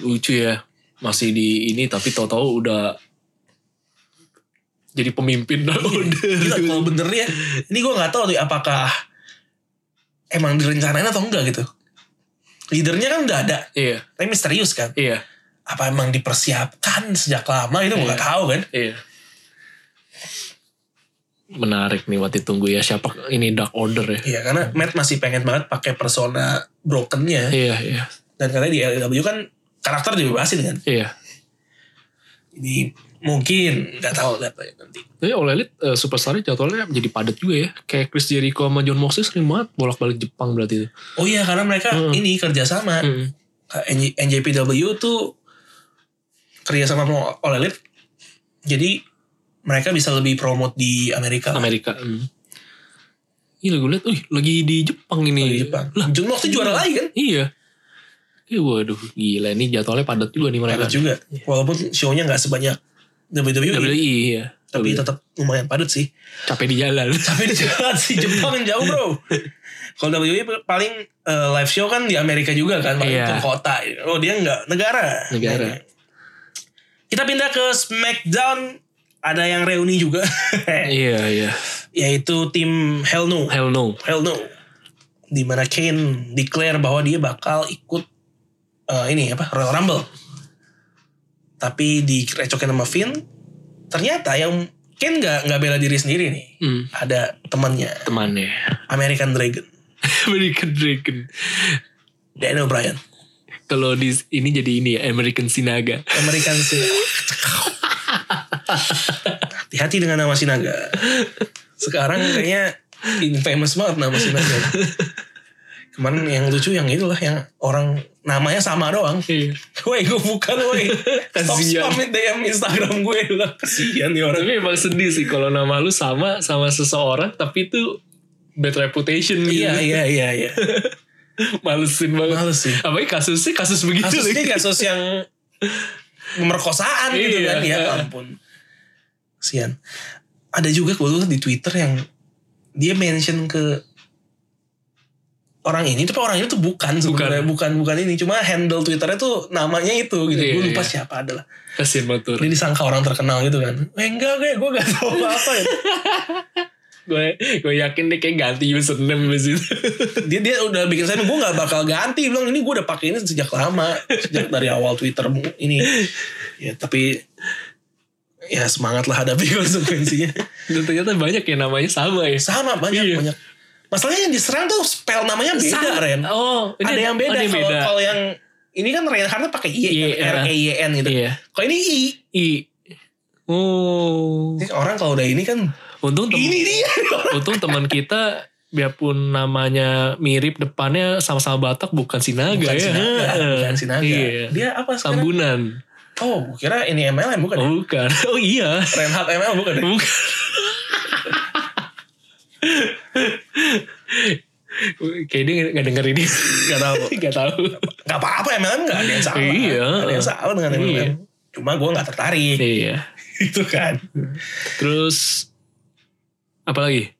Lucu ya. Masih di ini tapi tahu-tahu udah jadi pemimpin dah Iya. Gila udah. kalau bener ya, ini gue nggak tahu nih apakah emang direncanain atau enggak gitu. Leadernya kan udah ada, Iya, tapi misterius kan. iya, Apa emang dipersiapkan sejak lama itu gue nggak tahu kan. iya. Menarik nih buat ditunggu ya siapa ini Dark Order ya. Iya karena Matt masih pengen banget pakai persona brokennya Iya, iya, dan karena di LW kan karakter dibebasin kan. iya. Ini mungkin nggak tahu lihat aja nanti. Tapi oleh Elite eh, superstarnya jadwalnya jadi padat juga ya. Kayak Chris Jericho sama John Moxley sering banget bolak-balik Jepang berarti itu. Oh iya karena mereka ini kerjasama. Hmm. NJ NJPW tuh kerja sama sama All Elite. Jadi mereka bisa lebih promote di Amerika Amerika. Hmm. Gila gue liat, wih lagi di Jepang ini. di Jepang. Lah, Jun Moxley juara lagi kan? Iya. Iya waduh gila ini jadwalnya padat juga nih mereka. Padat juga. Walaupun show-nya nggak sebanyak WWE, WWE iya. tapi tetap lumayan padat sih. capek di jalan. E. Tapi di jalan sih Jepang yang jauh bro. Kalau WWE paling eh, live show kan di Amerika juga kan, paling Iya. ke kota. Oh dia nggak negara. Negara. Kita pindah ke SmackDown. Ada yang reuni juga. iya iya. yaitu tim Hell No. Hell no. Hell No. Di mana Kane declare bahwa dia bakal ikut eh, ini apa Royal Rumble. Tapi direcokin sama Finn. Ternyata yang Kane nggak nggak bela diri sendiri nih. Hmm, Ada temannya temannya. American Dragon, American Dragon. Daniel Bryan. Kalau di ini jadi ini ya American Sinaga. American sih. Hati-hati dengan nama Sinaga. Sekarang kayaknya infamous banget nama Sinaga. Kemarin yang lucu yang itulah yang orang namanya sama doang. Iya. Woi gue bukan woi. Stop Kasian. spam DM Instagram gue lah. Kasian nih orang. Tapi emang sedih sih kalau nama lu sama sama seseorang tapi itu bad reputation Iya gitu. iya iya iya. Malesin banget. Males sih. Apalagi kasusnya kasus begitu Kasusnya lagi. kasus yang pemerkosaan gitu Iya. kan ya ampun. Kasian. Ada juga gue tuh di Twitter yang dia mention ke orang ini tapi orang ini tuh bukan sebenarnya bukan bukan ini cuma handle twitternya tuh namanya itu gitu Iya, gue lupa iya. siapa adalah Kasian banget tuh. dia disangka orang terkenal gitu kan eh, enggak gue gue gak tahu apa apa ya Gue gue yakin deh kayak ganti username abis itu. dia dia udah bikin saya gue nggak bakal ganti bilang ini gue udah pakai ini sejak lama sejak dari awal Twitter ini ya tapi ya semangat lah hadapi konsekuensinya Dan ternyata banyak ya namanya sama ya. sama banyak Iya. banyak masalahnya yang diserang tuh spell namanya beda Sama. Ren Oh, ini ada yang beda ada kalau kalau yang ini kan Reinhardt pakai Y Iya. R E Y N gitu Iya. kalau ini I I. Oh. Ini orang kalau udah ini kan Untung ini teman dia untung teman kita biarpun namanya mirip depannya sama-sama Batak bukan Sinaga bukan ya. Sinaga Heeh. bukan Sinaga Iya. dia apa sekarang Sambunan. oh gua kira ini MLM bukan ya? Oh, bukan. Oh iya. Reinhardt MLM bukan ya? Bukan. Kayaknya dia gak denger ini. Gak tahu. gak tahu. Gak apa-apa MLM gak ada yang salah. Iya. Gak ada yang salah dengan MLM. Iya. Cuma gue gak tertarik. Iya. gitu kan. Terus apa lagi?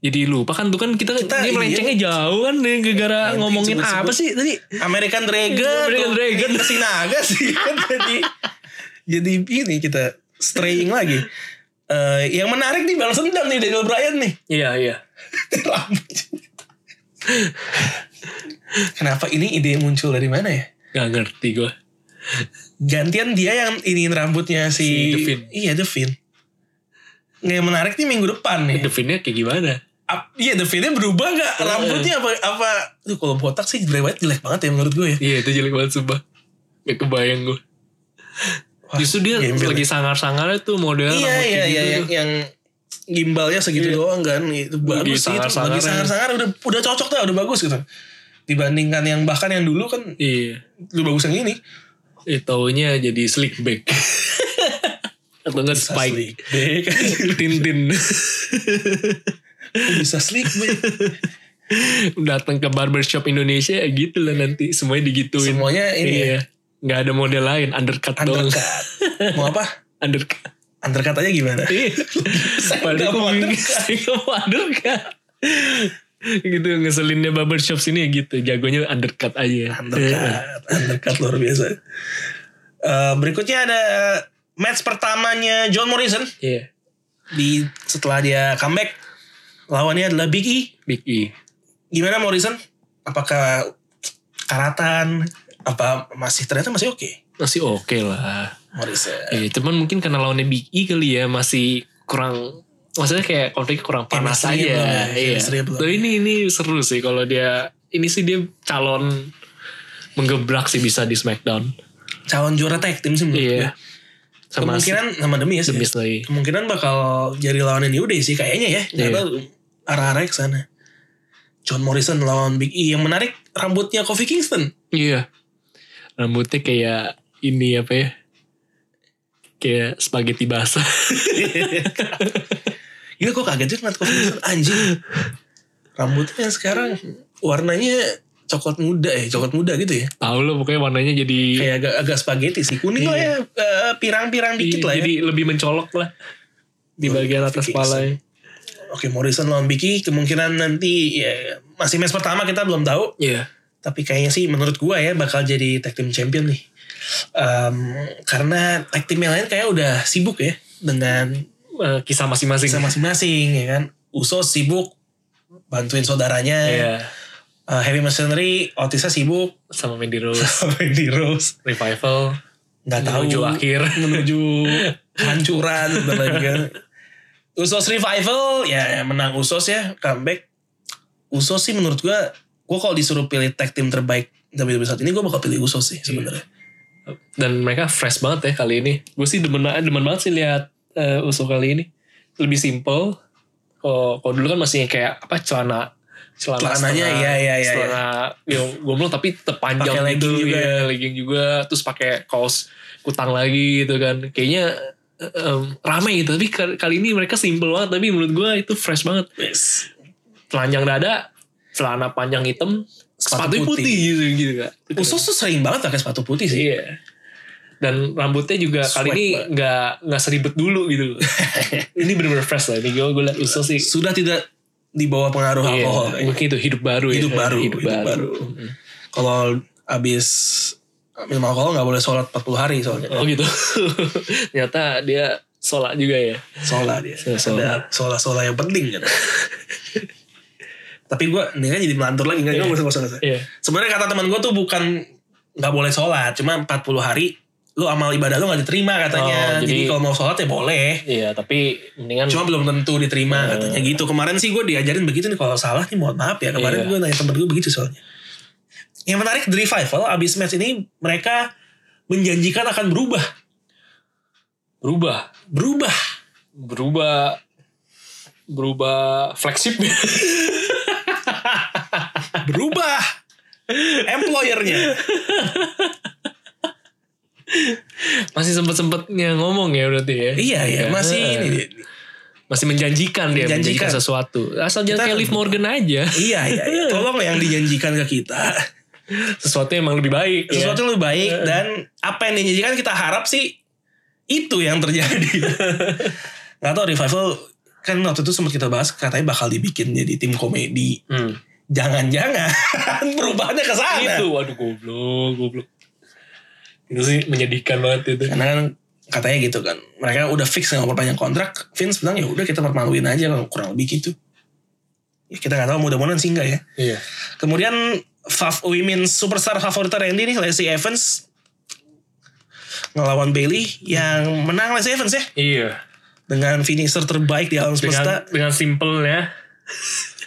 Jadi lupa kan tuh kan kita, Kita- ya. ini melencengnya jauh kan nih, gara-gara Nanti ngomongin sebut-sebut. apa sih tadi? American Dragon. American tuh. Dragon. Ke Sinaga sih. kan jadi, jadi ini kita straying lagi. Eh, yang menarik nih balas dendam nih Daniel Bryan nih. Iya iya. Rambut. Kenapa ini ide muncul dari mana ya? Gak ngerti gue. Gantian dia yang iniin rambutnya si, Si Devin. Iya, Devin. Nggak yang menarik nih minggu depan nih. Definnya kayak gimana? Ap- iya, Devinnya berubah nggak? Heeh. Rambutnya apa? apa? Duh, kalau botak sih brewet jelek banget ya menurut gue ya. Iya itu jelek banget sumpah. Gak kebayang gue. Wah, Justru dia gembel lagi ya. sangar-sangarnya tuh model Iya, rambut iya, kayak iya. gitu Yang, tuh. yang gimbalnya segitu Iya. doang kan. Itu Lagi bagus sih. Itu lagi sangar-sangarnya. sangar-sangar udah, udah cocok dah, udah bagus gitu. Dibandingkan yang bahkan yang dulu kan Iya. lebih bagus yang ini. Eh, taunya jadi slick back. Atau enggak spike. Asli. Dek. Tintin. Kok bisa slick back. Datang ke barbershop Indonesia gitu lah nanti. Semuanya digituin. Semuanya ini ya. iya. Nggak ada model lain. Undercut, doang. Undercut. Mau apa? Undercut. Undercut aja gimana? Iya. Saya nggak Padahal mau gue bingung. undercut. Saya nggak mau undercut. gitu ngeselinnya barbershop sini ya gitu. Jagonya undercut aja. Eh, Undercut. Undercut luar biasa. Eh, berikutnya ada match pertamanya John Morrison Iya. di setelah dia comeback lawannya adalah Big E. Big E. Gimana Morrison? Apakah karatan? Apa masih ternyata masih oke Masih oke lah. Morrison? Iya, cuman mungkin karena lawannya Big E kali ya masih kurang maksudnya kayak konflik kurang panas Chemistry-nya aja. belum ya, Iya. chemistry-nya belum. Tapi ini ini seru sih kalau dia ini sih dia calon menggebrak sih bisa di SmackDown. Calon juara tag tim sih menurut Iya. gue. Hmm, ya. Kemungkinan nama demi ya si sih. Miz lagi. Kemungkinan bakal jadi lawannya New Day sih kayaknya ya. Iya. Karena arah-arah ke sana. John Morrison lawan Big E yang menarik rambutnya Kofi Kingston. Iya. Rambutnya kayak ini apa ya? Kayak spaghetti basah. Gila gue Iya, kaget juga ngeliat Kofi Kingston anjing. Rambutnya sekarang warnanya coklat muda ya, coklat muda gitu ya. Tahu lo pokoknya warnanya jadi Kayak agak agak spaghetti sih, kuning Iya. lah ya, eh, pirang-pirang dikit lah ya. Oh, jadi lebih mencolok lah di bagian atas Fix. kepala. Oke Morrison lawan Big E kemungkinan nanti ya masih match pertama kita belum tahu. Iya. Tapi kayaknya sih menurut gua ya bakal jadi tag team champion nih. Em, karena tag team yang lain kayak udah sibuk ya dengan Eh, kisah masing-masing. bisa masing-masing ya kan. Usos sibuk bantuin saudaranya. Iya. Eh, Heavy Machinery, Otisnya sibuk Sama Mandy Rose. sampai di Rose. Revival. Nggak tahu Menuju akhir. menuju hancuran sebentar lagi kan. Usos revival ya menang Usos ya comeback. Usos sih menurut gua gua kalau disuruh pilih tag team terbaik WWE saat ini gua bakal pilih Usos sih sebenarnya. Dan mereka fresh banget ya kali ini. Gue sih demen, eh, demen banget sih lihat eh, Uso kali ini. Lebih simple. Kalau kalau dulu kan masih kayak apa celana celana Celananya, setengah- iya, iya, iya, celana ya, gomblong tapi tetap panjang Pakai gitu legging juga. ya, legging juga terus pakai kaos kutang lagi gitu kan kayaknya eh, em, rame gitu tapi kali kali ini mereka simple banget tapi menurut gue itu fresh banget Yes. telanjang dada celana panjang hitam sepatu, Sepatu putih. putih. gitu gitu kan Usos tuh sering banget pakai sepatu putih sih. Iya. Dan rambutnya juga kali Swag ini banget. nggak nggak seribet dulu gitu. loh. ini bener-bener fresh lah. Ini gue gue liat usus sih. Sudah tidak di bawah pengaruh Iya, alkohol. kayaknya. mungkin itu hidup baru ya. Oh, Hidup baru, Hidup, hidup baru. baru. Kalau abis minum alkohol nggak boleh sholat 40 hari soalnya. Oh gitu. Ternyata dia sholat juga ya. Sola dia. Iya, Sola. Ada sola-sola yang penting kan. Tapi gue ini kan jadi melantur lagi nggak nggak usah nggak usah, nggak usah. Iya. Sebenarnya kata teman gue tuh bukan nggak boleh sholat, cuma 40 hari lu amal ibadah lu nggak diterima katanya. Oh, jadi jadi- kalau mau sholat ya boleh. Iya tapi mendingan. Cuma belum tentu diterima Eh. katanya gitu. Kemarin sih gue diajarin begitu nih kalau salah nih mohon maaf ya. Kemarin Iya. gue nanya temen gue begitu soalnya. Yang menarik The Revival abis match ini mereka menjanjikan akan berubah. berubah. Berubah. Berubah. Berubah flagship. berubah employernya Masih sempet-sempetnya ngomong ya berarti ya. Eh, iya iya masih ini dia. Masih menjanjikan dia. Menjanjikan. Menjanjikan, sesuatu. Asal Kita- jangan kayak Liv Morgan aja. iya iya iya tolong yang dijanjikan ke kita sesuatu yang emang lebih baik sesuatu ya. yang lebih baik dan apa yang dijanjikan kita harap sih itu yang terjadi nggak tahu revival kan waktu itu sempat kita bahas katanya bakal dibikin jadi tim komedi Hmm. jangan-jangan perubahannya ke sana itu waduh goblok goblok itu sih menyedihkan banget itu karena kan katanya gitu kan mereka udah fix nggak mau perpanjang kontrak Vince bilang ya udah kita permaluin aja kurang lebih gitu Ya, kita nggak tahu mudah-mudahan sih enggak ya. Iya. Kemudian fav, women's superstar favorit Randy nih Lacey Evans ngelawan Bailey yang menang Lacey Evans ya Iya. dengan finisher terbaik di alam Dengan semesta dengan simpelnya.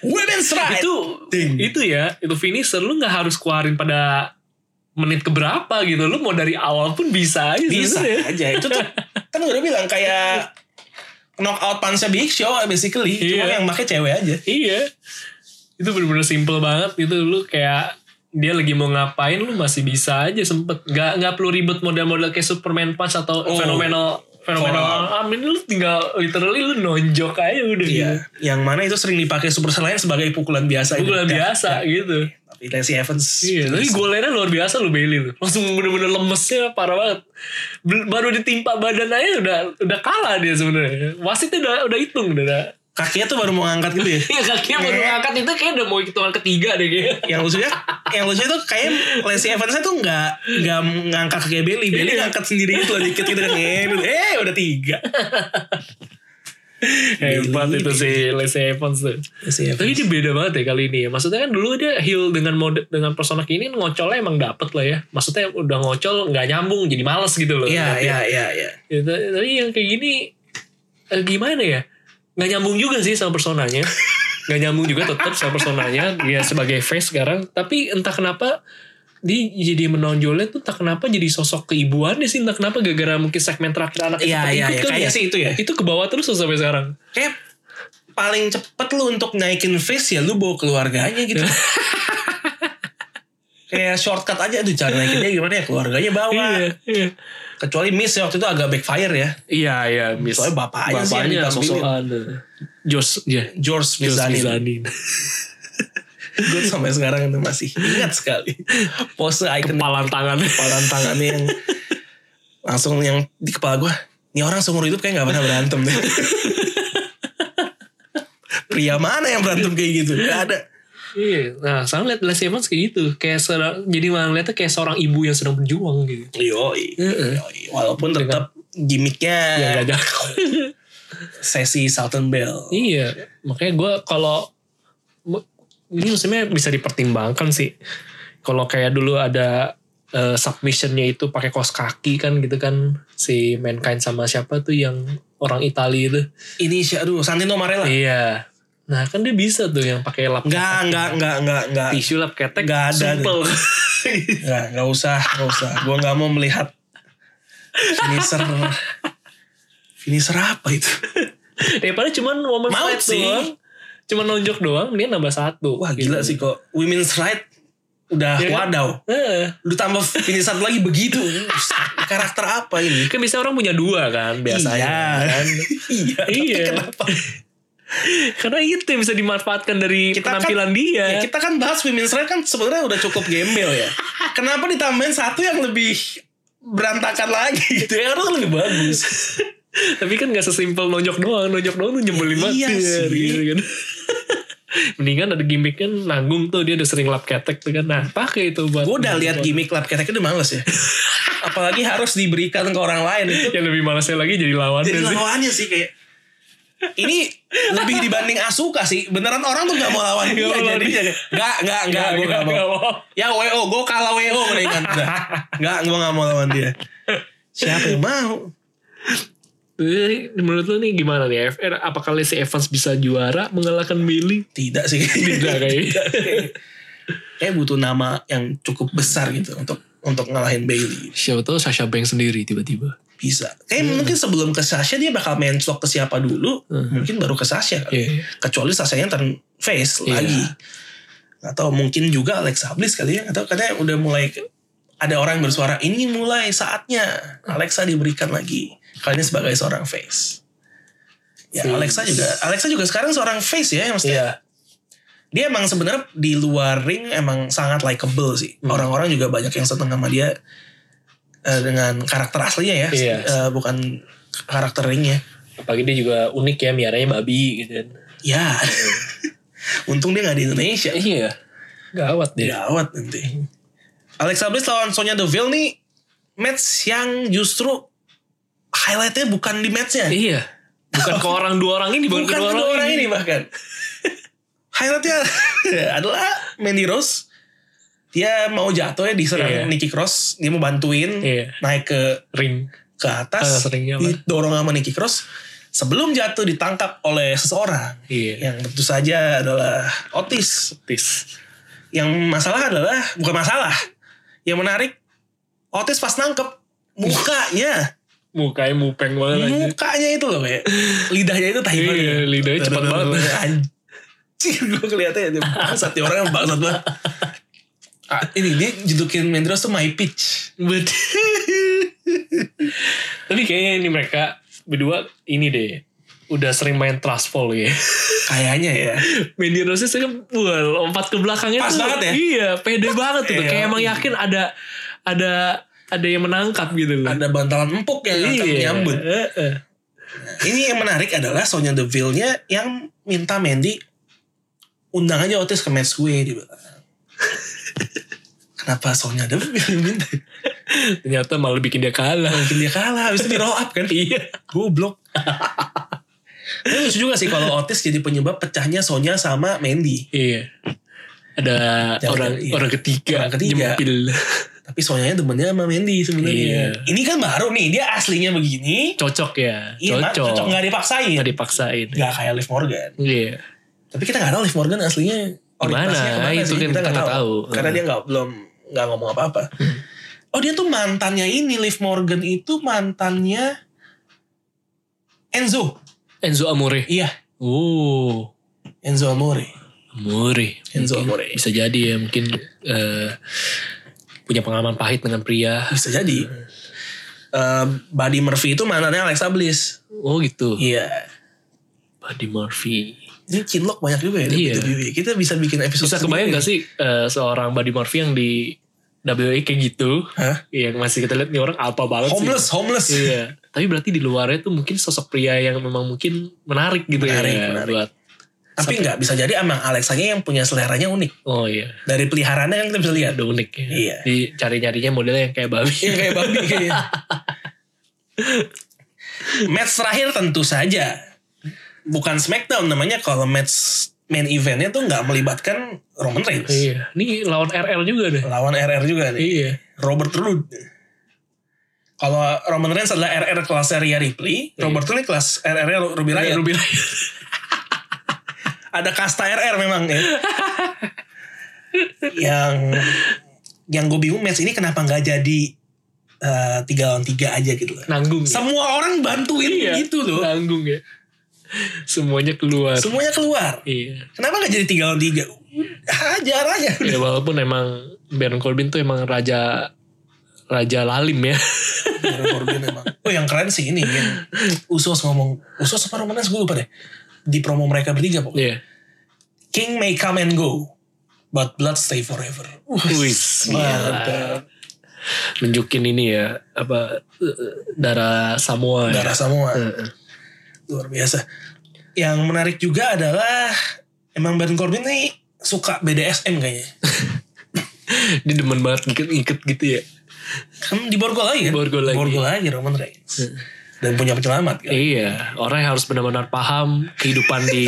Women's Right Nah, itu Ting. itu ya, itu finisher lu nggak harus keluarin pada menit keberapa gitu. Lu mau dari awal pun bisa aja bisa sebenarnya. aja itu tuh kan gue udah bilang kayak knockout punch Big Show basically cuma Iya. yang pakai cewek aja Iya. Itu bener-bener simple banget gitu. Lu kayak dia lagi mau ngapain lu masih bisa aja sempet nggak nggak perlu ribet model-model kayak Superman Punch atau Oh. fenomenal fenomenal Fallout. amin lu tinggal literally lu nonjok aja udah gitu. Iya, yang mana itu sering dipakai superstar lain sebagai pukulan biasa. Pukulan Gitu. biasa gitu. Tapi Lacey Evans. Iya, tapi golnya luar biasa lu Bailey lu. Langsung bener-bener lemesnya parah banget. Bel- Baru ditimpa badan aja udah udah kalah dia sebenarnya. Wasitnya udah udah hitung udah. udah. Kakinya tuh baru mau ngangkat gitu ya. Iya kakinya baru ngangkat itu kayak udah mau hitungan ketiga deh kayaknya. yang lucunya, yang lucunya tuh kayak Lacey Evans tuh nggak nggak ngangkat kayak Bailey. Bailey ngangkat sendiri gitu loh, dikit gitu kan. Eh, eh, udah tiga. Hebat Bailey. itu si Lacey Evans tuh. Lacey Evans. Tapi dia beda banget ya kali ini ya. Maksudnya kan dulu dia heal dengan mode dengan persona ini ngocolnya emang dapet lah ya. Maksudnya udah ngocol nggak nyambung jadi males gitu loh. Iya, Tapi- iya, iya, iya. Ya, ta- tapi yang kayak gini eh, gimana ya? Nggak nyambung juga sih sama personanya. Nggak nyambung juga tetap sama personanya. Dia sebagai face sekarang. Tapi entah kenapa dia jadi menonjolnya tuh entah kenapa jadi sosok keibuannya sih. Entah kenapa gara-gara mungkin segmen terakhir anak kan Iya, iya, iya. Kayaknya sih itu ya. Itu ke bawah terus loh sampai sekarang. Kayak paling cepet lu untuk naikin face ya lu bawa keluarganya gitu. kayak shortcut aja tuh cara naikinnya gimana ya keluarganya bawa. Iya, iya. Kecuali Miss ya waktu itu agak backfire ya. Iya, iya. Miss. Soalnya bapaknya sih yang Bapaknya ditampilin. sosokan. Jos, ya. George Jos Mizanin. Mizanin. Gue sampai sekarang itu masih ingat sekali. Pose ikonik Kepalan tangannya. kepalan tangannya yang langsung yang di kepala gue. Ini orang seumur hidup kayak gak pernah berantem deh. Pria mana yang berantem kayak gitu? Gak ada. Iya, nah sekarang lihat Lacey Evans kayak gitu, kayak sedang, jadi malah ngeliatnya kayak seorang ibu yang sedang berjuang gitu. Yoi. Iya, Heeh. Yoi. Walaupun tetap gimmicknya nggak Iya, jago. sesi Southern Bell. iya, makanya gue kalau ini maksudnya bisa dipertimbangkan sih. Kalau kayak dulu ada eh, submissionnya itu pakai kos kaki kan gitu kan si Mankind sama siapa tuh yang orang Italia itu. Ini si aduh Santino Marella. Iya. Nah kan dia bisa tuh yang pakai lap Enggak, enggak, enggak, enggak, enggak. tisu lap ketek. Nggak ada Sumpel. Nggak, nggak usah, nggak usah. Gue nggak mau melihat finisher. Finisher apa itu? Daripada cuman woman Mau fight sih. doang. Cuman nonjok doang, dia nambah satu. Wah Gitu. gila sih kok. Women's right udah Iya kan? wadaw. Heeh. Lu tambah finisher lagi begitu. Karakter apa ini? Kan biasanya orang punya dua kan biasanya. Iya. Kan? Iya. tapi Iya. Kenapa? Karena itu yang bisa dimanfaatkan dari Kita kan- penampilan dia. Ya, kita kan bahas women's right kan sebenarnya udah cukup gembel ya. Kenapa ditambahin satu yang lebih berantakan lagi gitu ya harus lebih bagus Tapi kan gak sesimpel nonjok doang. Nonjok doang tuh nyebelin banget. Iya sih. Gitu kan. Mendingan ada gimmick kan nanggung tuh dia udah sering lap ketek tuh kan. Nah pakai itu buat. gue udah lihat gimmick lap keteknya udah males ya apalagi harus diberikan ke orang lain itu Yang lebih malasnya lagi jadi lawan jadi sih. lawannya sih kayak ini lebih dibanding Asuka sih beneran orang tuh gak mau lawan dia Nggak mau lawan jadinya nggak nggak nggak gue gak mau ya wo gue kalah wo mendingan udah nggak gue gak mau lawan dia siapa yang mau Jadi, Menurut lu nih gimana nih FR? Apakah Lacey Evans bisa juara mengalahkan Bailey? tidak sih Tidak kayaknya. kayak butuh nama yang cukup besar gitu untuk untuk ngalahin Bailey Siapa tahu Sasha Banks sendiri tiba-tiba. bisa kayak mungkin sebelum ke Sasha dia bakal menclok ke siapa dulu mungkin baru ke Sasha kali. Iya. kecuali Sasha-nya turn face Iya. lagi atau mungkin juga Alexa Bliss kali ya atau katanya udah mulai ada orang yang bersuara ini mulai saatnya Alexa diberikan lagi kali ini sebagai seorang face ya Face. Iya. Alexa juga Alexa juga sekarang seorang face ya maksudnya dia emang sebenarnya di luar ring emang sangat likable sih Hmm. orang-orang juga banyak yang seneng sama dia eh, dengan karakter aslinya ya Iya. Eh, bukan karakter ringnya Apalagi dia juga unik ya miaranya babi gitu kan. ya untung dia nggak di Indonesia Iya. Gawat dia. Gawat nanti. Hmm. Alexa Bliss lawan Sonya Deville nih match yang justru highlightnya bukan di matchnya. Iya. Bukan ke orang dua orang ini, Bukan kedua orang ini bahkan. highlightnya adalah Mandy Rose dia mau jatuh ya diserang Iya. Nikki Cross dia mau bantuin Iya. naik ke Ring. ke Ah, atas seringnya apa? didorong sama Nikki Cross sebelum jatuh ditangkap oleh seseorang Iya. yang tentu saja adalah Otis Tis. yang masalah adalah bukan masalah yang menarik Otis pas nangkep mukanya Mukanya mupeng banget aja. mukanya itu loh kayak lidahnya itu tahi banget Iya, lidahnya cepat banget. anjir gue kelihatannya dia bangsat dia orangnya bangsat banget Ah, ini dia judukin Mendros tuh my pitch Tapi kayaknya ini mereka berdua ini deh. Udah sering main trust fall ya. kayaknya ya Mandy Rose itu kan wah, lompat ke belakangnya Pas tuh. banget ya? Iya, pede banget tuh. Iya. Kayak emang yakin ada ada ada yang menangkap gitu loh. ada bantalan empuk yang akan menyambut Eh, eh. ini yang menarik adalah Sonya Deville-nya yang minta Mandy undang aja Otis ke match gue dia bilang. Kenapa Sonya Deville yang minta? Ternyata malah bikin dia kalah. Mungkin dia kalah, habis itu di roll up kan. iya. Goblok. Tapi lucu juga sih kalau Otis jadi penyebab pecahnya Sonya sama Mandy. Iya. Ada Jangan- orang iya. orang ketiga, Orang ketiga. nyempil. Tapi Sonyanya demennya sama Mandy sebenarnya. Iya. Ini kan baru nih, dia aslinya begini. Cocok ya. Iya, Mak, cocok. cocok. Nggak dipaksain. Nggak dipaksain. Nggak kayak Liv Morgan. Iya. Tapi kita nggak tahu Liv Morgan aslinya orientasinya Kemana? kemana Itu sih. kan Kita nggak kita tahu. nggak tahu. Hmm. Karena dia nggak belum nggak ngomong apa-apa. Oh dia tuh mantannya ini Liv Morgan itu mantannya Enzo. Enzo Amore. Iya Oh. Enzo Amore. Amore. Enzo Mungkin Amore. Bisa jadi ya mungkin eh, punya pengalaman pahit dengan pria. Bisa jadi. Eh, Buddy Murphy itu mantannya Alexa Bliss. Oh gitu. Iya. Buddy Murphy. Ini cinlok banyak juga ya. di Iya. WWE. Kita bisa bikin episode. Bisa kebayang sendiri. gak sih eh, seorang Buddy Murphy yang di WWE kayak gitu? Hah? Yang masih kita lihat nih orang apa banget Homeless, sih. homeless. Iya. Tapi berarti di luarnya tuh mungkin sosok pria yang memang mungkin menarik gitu Menarik, ya. menarik. Buat, Tapi nggak bisa jadi emang Alexanya yang punya seleranya unik. oh iya. Dari peliharaannya kan kita bisa lihat. Ada unik ya. Iya. Dicari-nyarinya modelnya yang kayak babi. Iya kayak babi kayaknya. match terakhir tentu saja bukan Smackdown namanya kalau match main eventnya tuh nggak melibatkan Roman Reigns iya. Ini lawan RL juga deh. lawan RR juga nih Iya. Robert Roode kalau Roman Reigns adalah RR kelas Rhea Ripley Iya. Robert Roode kelas RR Ruby Riot Ruby Riot. ada kasta RR memang ya yang yang gue bingung match ini kenapa nggak jadi eh, tiga lawan tiga aja gitu loh Nanggung. ya? semua orang bantuin Iya, gitu loh. Nanggung ya. Semuanya keluar. Semuanya keluar. iya. Kenapa nggak jadi tiga lawan tiga? Hajar aja. Ya walaupun emang Baron Corbin tuh emang raja raja lalim ya. Baron Corbin emang. Oh yang keren sih ini. Yang Usos ngomong. Usos apa Roman Reigns gue lupa deh. Di promo mereka bertiga pokoknya. Iya. King may come and go. But blood stay forever. Uh, Wis, Iya. gila. Mantap. Nunjukin ini ya apa eh, darah Samoa. ya. Darah semua. Heeh. Luar biasa. Yang menarik juga adalah. Emang Baron Corbin nih suka BDSM kayaknya. Dia demen banget ngikut-ngikut gitu ya. Kan di Borgol lagi kan? Borgol lagi. Borgol lagi Roman Reigns. Dan punya penyelamat kan? Iya, orang yang harus benar-benar paham kehidupan di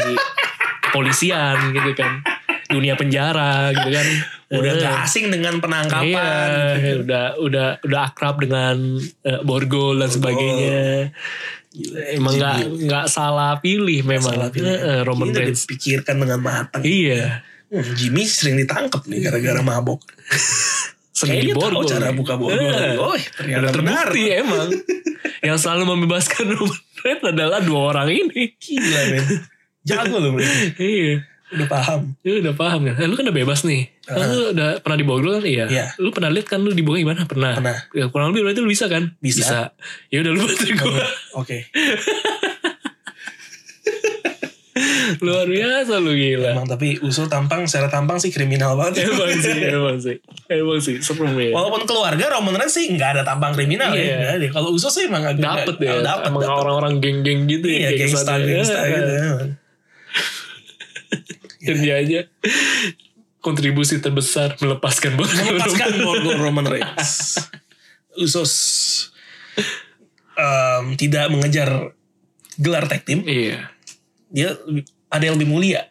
kepolisian gitu kan. Dunia penjara gitu kan. udah Eh. gak asing dengan penangkapan Iya, gitu. udah udah udah akrab dengan eh, borgol dan sebagainya. Emang nggak nggak salah pilih memang Salah pilih. Iya, Eh, eh, Roman Ini udah Reigns. dipikirkan dengan matang Iya, Hmm, Jimmy sering ditangkap nih gara-gara mabok sering di Kayaknya tahu borgol. cara buka borgol Eh, oh ternyata udah benar terbukti emang. Yang selalu membebaskan Roman Reigns adalah dua orang ini. gila men jago loh mereka iya. udah paham Lu udah paham kan? Eh, lu kan udah bebas nih. Kan Lu udah pernah diborgol kan? Iya. Iya. Lu pernah lihat kan lu diborgol gimana? Pernah. Pernah. Ya, kurang lebih berarti lu bisa kan? Bisa. Ya udah lu bantu oke gua. Luar biasa lu gila. emang tapi usul tampang secara tampang sih kriminal banget ya. Emang sih, emang sih. Emang sih, serem ya. walaupun keluarga Roman Reigns sih nggak ada tampang kriminal Iya. ya Nggak ada. kalau usul sih emang agak oh, Dapet ya, dapet, emang dapet. orang-orang geng-geng gitu iya ya. gangsta kesannya. gangsta Eh, gitu emang. Dan dia aja kontribusi terbesar melepaskan bola. melepaskan Borgol Roman Reigns. Usos em, tidak mengejar gelar tag team, Iya. dia lebih- ada yang lebih mulia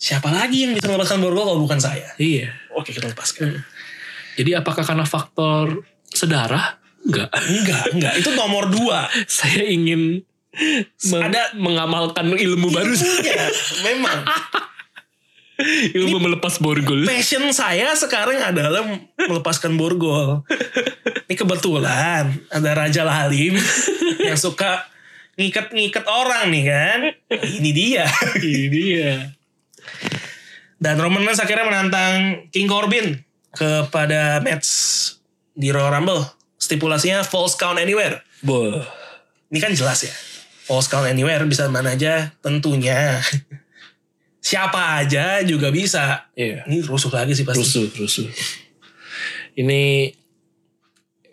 siapa lagi yang bisa melepaskan Borgo kalau bukan saya? Hmm. Iya. Oke kita lepaskan. Jadi apakah karena faktor sedarah? Enggak. Enggak, enggak. Itu nomor dua. Saya ingin meng- Ada- mengamalkan ilmu baru. Iya, memang. ilmu melepas borgol. Passion saya sekarang adalah melepaskan borgol. Ini kebetulan ada Raja Lalim yang suka ngikat-ngikat orang nih kan. Ini dia. Ini ya. Dan Roman Reigns akhirnya menantang King Corbin kepada match di Royal Rumble. Stipulasinya false count anywhere. Boh. Ini kan jelas ya. False count anywhere bisa mana aja tentunya. Siapa aja juga bisa. Iya. Ini rusuh lagi sih pasti. Rusuh, rusuh. Ini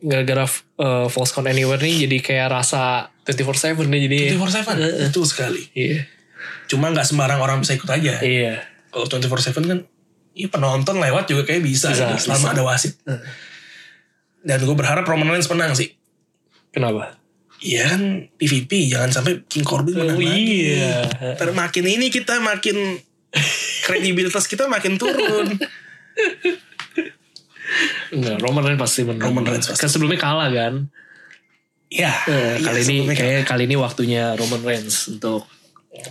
gara-gara eh, false count anywhere nih jadi kayak rasa 24/7 nih jadi. 24-7. Betul sekali. Iya. Cuma nggak sembarang orang bisa ikut aja. Iya. Kalau 24-7 kan ya penonton lewat juga kayak bisa. gitu, Bisa, selama bisa. ada wasit. Dan gue berharap Roman Reigns menang sih. Kenapa? Iya kan PVP jangan sampai King Corbin menang lagi. iya. Ntar makin ini kita makin kredibilitas kita makin turun. Enggak, Roman Reigns pasti menang. Roman Reigns pasti. Kan sebelumnya kalah kan. Ya, Eh, iya, kali ini sebelumnya Iya. kayaknya kali ini waktunya Roman Reigns untuk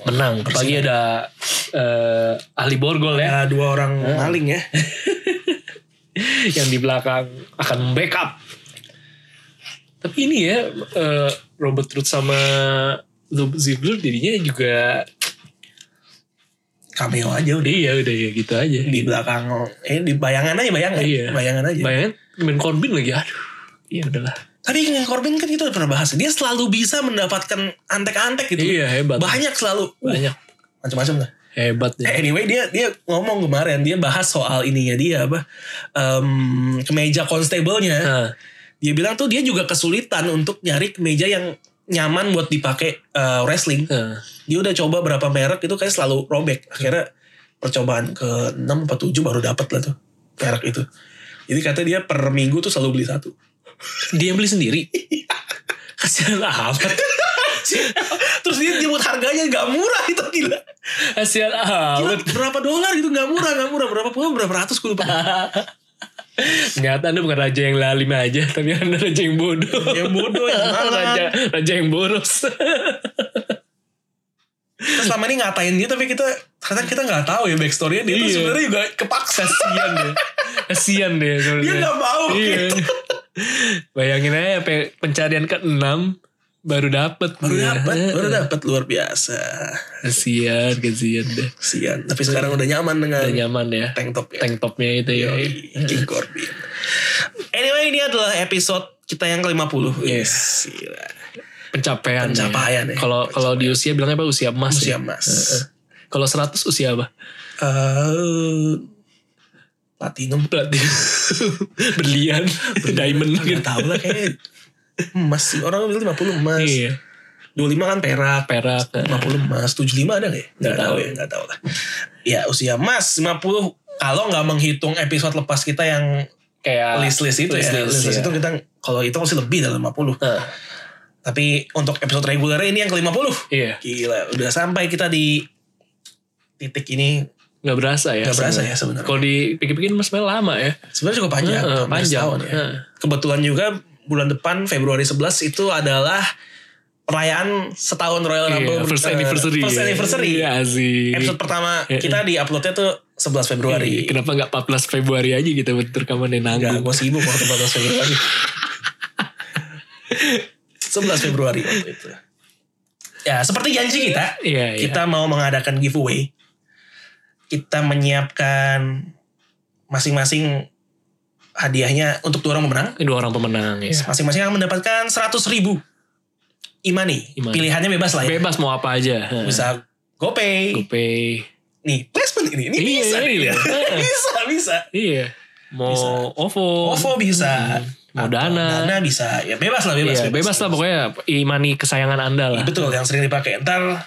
menang. Apalagi ada eh, ahli borgol ada ya Eh, dua orang maling ya. yang di belakang akan backup. Tapi ini ya eh, Robert Root sama Dolph Ziggler jadinya juga Cameo aja udah udah ya udah ya gitu aja. di belakang eh di bayangan aja bayangan. Iya. Iya, Bayangan aja. Bayangin main Corbin lagi aduh. Ya udahlah. Tapi King Corbin kan kita udah pernah bahas. Dia selalu bisa mendapatkan antek-antek gitu. Iya hebat. Banyak selalu. Uh, Banyak Macam-macam lah. hebat Eh, ya. Anyway dia dia ngomong kemarin dia bahas soal ininya dia apa em, kemeja constable-nya. Nah, dia bilang tuh dia juga kesulitan untuk nyari meja yang nyaman buat dipakai uh, wrestling. nah. Dia udah coba berapa merek itu kayak selalu robek. Akhirnya percobaan ke 6 atau 7 baru dapat lah tuh merek itu. Jadi katanya dia per minggu tuh selalu beli satu. Dia yang beli sendiri. Iya. Kasihan amat. Terus dia nyebut harganya gak murah itu gila. Kasihan Gila, amat. berapa dolar gitu gak murah, gak murah. Berapa puluh, berapa ratus gue lupa. Ternyata anda bukan raja yang lalim aja, tapi anda raja yang bodoh. Yang Ya bodoh, yang malang. raja, raja yang boros. Terus selama ini ngatain dia tapi kita ternyata kita gak tahu ya backstory-nya. Dia tuh Iya. sebenarnya juga kepaksa. Kasian deh. Kasian deh Dia sebenarnya. gak mau Iya. gitu. Bayangin aja pe- pencarian ke-6 baru dapat. baru dapat baru dapat luar biasa Kasian, kasian deh. kasihan tapi sekarang udah nyaman dengan Udah nyaman ya. tank top ya Tank topnya itu ya. Yoi, King Corbin anyway ini adalah episode kita yang ke-50 Yes. Gila. Pencapaian. ya. Pencapaian ya. Kalau kalau di usia bilangnya apa? Usia emas. usia ya? emas Kalau 100 usia apa? Eh, platinum Berarti berlian, diamond gak gitu. tau lah kayaknya emas sih orang bilang 50 emas Iya. 25 kan perak Perak. eh. 50 emas 75 ada gak ya gak, tahu Nggak tahu. ya gak tahu lah ya usia emas 50 kalau nggak menghitung episode lepas kita yang Kayak list-list itu ya. Ah, List-list, List-list ya. itu kita kalau itu masih lebih dari 50. Nah, Tapi untuk episode reguler ini yang ke-50. iya, Gila, udah sampai kita di titik ini nggak berasa ya. nggak berasa sebenarnya. ya sebenarnya. Kalau dipikir-pikir mas sebenarnya lama ya. Sebenarnya cukup panjang, Heeh, hampir panjang. Eh. setahun ya. Heeh. Kebetulan juga bulan depan Februari 11 itu adalah perayaan setahun Royal Rumble Iya, first eh, anniversary. First anniversary. Iya asik. Episode pertama Iya, kita di uploadnya tuh 11 Februari. Iya, Kenapa nggak 14 Februari aja gitu buat rekaman yang Enggak, nanggung. gue sibuk waktu 14 Februari. 11 Februari waktu itu. Ya, seperti janji kita, Iya, iya. kita mau mengadakan giveaway. Kita menyiapkan masing-masing hadiahnya untuk dua orang pemenang. Dua orang pemenang ya. Masing-masing akan mendapatkan 100 ribu imani. Imani. Pilihannya bebas lah ya. Bebas mau apa aja. Heeh. Bisa GoPay. GoPay. Nih, placement ini. Ini Iya, bisa. nih, iya. dia. bisa, bisa. Iya. Mau Bisa. OVO. OVO bisa. Mau Atau Dana. Dana bisa. Ya bebas lah, bebas. Iya, bebas lah pokoknya imani kesayangan anda lah. Betul, yang sering dipakai. Ntar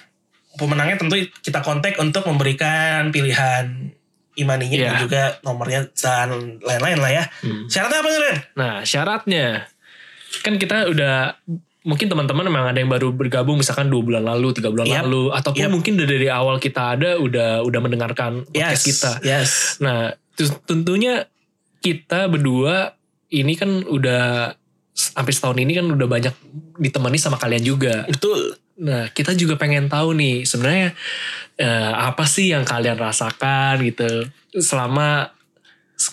pemenangnya tentu kita kontak untuk memberikan pilihan imaninya dan Iya. juga nomornya dan lain-lain lah ya. Hmm. Syaratnya apa nih Ren? Nah syaratnya kan kita udah mungkin teman-teman memang ada yang baru bergabung misalkan dua bulan lalu tiga bulan Yap. lalu ataupun Yap. mungkin dari, dari awal kita ada udah udah mendengarkan podcast Yes, kita Yes. nah tu- tentunya kita berdua ini kan udah s- hampir setahun ini kan udah banyak ditemani sama kalian juga Betul. Nah, kita juga pengen tahu nih sebenarnya eh, apa sih yang kalian rasakan gitu selama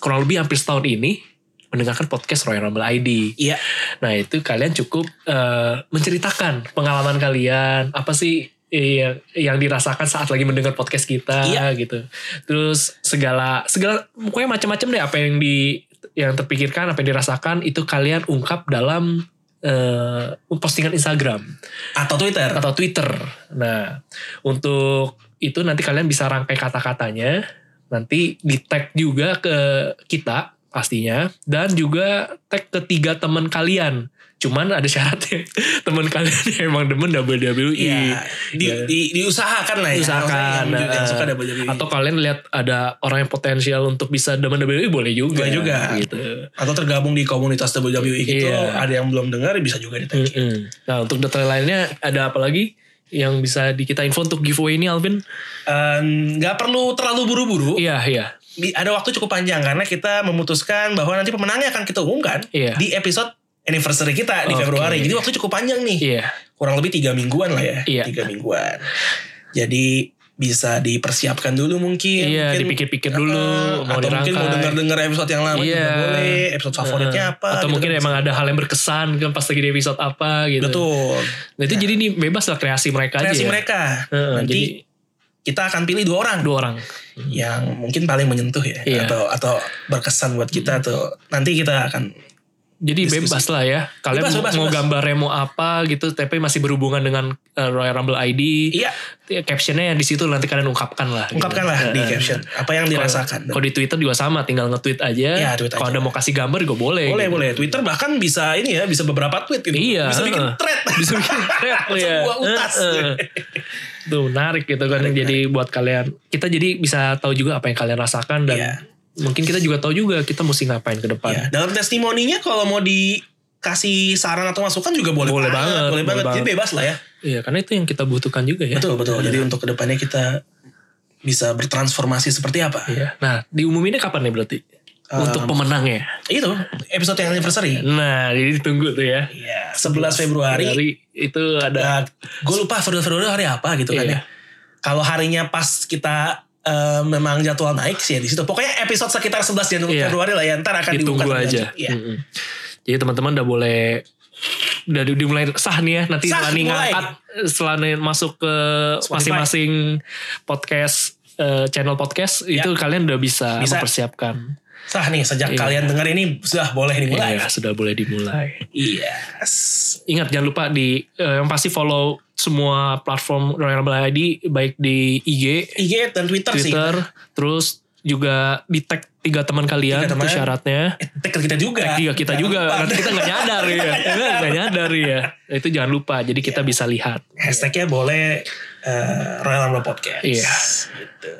kurang lebih hampir setahun ini mendengarkan podcast Royal Rumble ID. Iya. Nah, itu kalian cukup eh, menceritakan pengalaman kalian, apa sih eh, yang, yang dirasakan saat lagi mendengar podcast kita Iya. gitu. Terus segala segala pokoknya macam-macam deh apa yang di yang terpikirkan, apa yang dirasakan itu kalian ungkap dalam eh, postingan Instagram Atau Twitter. atau Twitter. Nah, untuk itu nanti kalian bisa rangkai kata-katanya, nanti di tag juga ke kita pastinya dan juga tag ketiga teman kalian. Cuman ada syaratnya teman kalian yang emang demen WWE. Iya. Di, Iya. di, diusahakan lah ya. Usahakan. Orang Yang, yang eh, suka double WWE. atau kalian lihat ada orang yang potensial untuk bisa demen WWE boleh juga. Boleh juga. Gitu. Atau tergabung di komunitas WWE gitu. Iya. Ada yang belum dengar bisa juga di tag. Mm-mm. Nah, untuk detail lainnya ada apa lagi yang bisa di kita info untuk giveaway ini Em, Alvin? Eh, Nggak perlu terlalu buru-buru. Iya, iya. Di- Ada waktu cukup panjang. Karena kita memutuskan bahwa nanti pemenangnya akan kita umumkan. Iya. Di episode anniversary kita di Oke. Februari. Jadi waktu cukup panjang nih. Iya. kurang lebih tiga mingguan lah ya Iya. tiga mingguan jadi bisa dipersiapkan dulu mungkin Iya, Mungkin, dipikir-pikir dulu, eh, mau atau mungkin mau dirangkai. denger-denger episode yang lama Iya. juga boleh episode favoritnya Heeh. apa Atau gitu mungkin kan. emang ada hal yang berkesan kan pas lagi di episode apa gitu. betul Iya. Nah, itu jadi nih bebas lah kreasi mereka kreasi aja. ya. mereka Heeh, nanti jadi kita akan pilih dua orang dua orang. yang mungkin paling menyentuh ya Iya. Hmm. atau atau berkesan buat kita atau nanti kita akan Jadi Diskusi. bebas lah ya. Kalian Bebas, mau- bebas, mau bebas. gambarnya mau apa gitu tapi masih berhubungan dengan eh, Royal Rumble ID. iya Captionnya yang di situ nanti kalian ungkapkan lah. gitu. ungkapkanlah di Heeh. caption apa yang Kalau- dirasakan Kalau di Twitter juga sama, tinggal nge-tweet aja. Iya, tweet aja. Kalau ada mau kasih gambar juga boleh. boleh gitu. boleh Twitter bahkan bisa ini ya bisa beberapa tweet gitu Iya, bisa bikin heeh. thread bisa bikin thread lu ya. Sebuah utas. Iya. Heeh. Tuh menarik gitu kan. Menarik, jadi buat kalian, kita jadi bisa tahu juga apa yang kalian rasakan dan Iya. mungkin kita juga tahu juga kita mesti ngapain ke depan. Ya, dalam testimoninya kalau mau dikasih saran atau masukan juga boleh, Boleh banget, boleh banget. boleh Jadi bebas lah ya. Iya, karena itu yang kita butuhkan juga ya. Betul betul. Jadi untuk kedepannya kita bisa bertransformasi seperti apa? Iya. Nah, diumuminnya kapan nih berarti? Um, Untuk pemenangnya. Itu episode yang anniversary. Nah, jadi ditunggu tuh ya. Iya, 11 Februari. itu ada Nah, gue lupa Februari Februari hari apa gitu kan Iya. ya. Kalau harinya pas kita eh, memang jadwal naik sih ya di situ. Pokoknya episode sekitar 11 Januari Iya. Februari lah ya. Ntar akan ditunggu dibuka. aja. Hmm. Iya. Mm-mm. Jadi teman-teman udah boleh udah di- dimulai sah nih ya nanti Sah, Lani mulai. ngangkat setelah Lani masuk ke Spotify. masing-masing podcast eh, channel podcast Ya. itu kalian udah bisa, Bisa. mempersiapkan. Sah nih sejak Iya. kalian dengar ini sudah boleh dimulai. Iya, sudah boleh dimulai. Yes. Ingat jangan lupa di eh, yang pasti follow semua platform Royal Rumble ID baik di IG, IG dan Twitter, Iya sih. Twitter, terus juga di tag tiga teman kalian Tiga itu teman. syaratnya. Eh, tag kita juga. Iya. Tag juga kita Jangan juga lupa. nanti kita nggak nyadar ya nggak nyadar ya itu jangan lupa jadi kita Iya. bisa lihat Hashtagnya boleh eh, Royal Rumble Podcast. Iya. Gitu.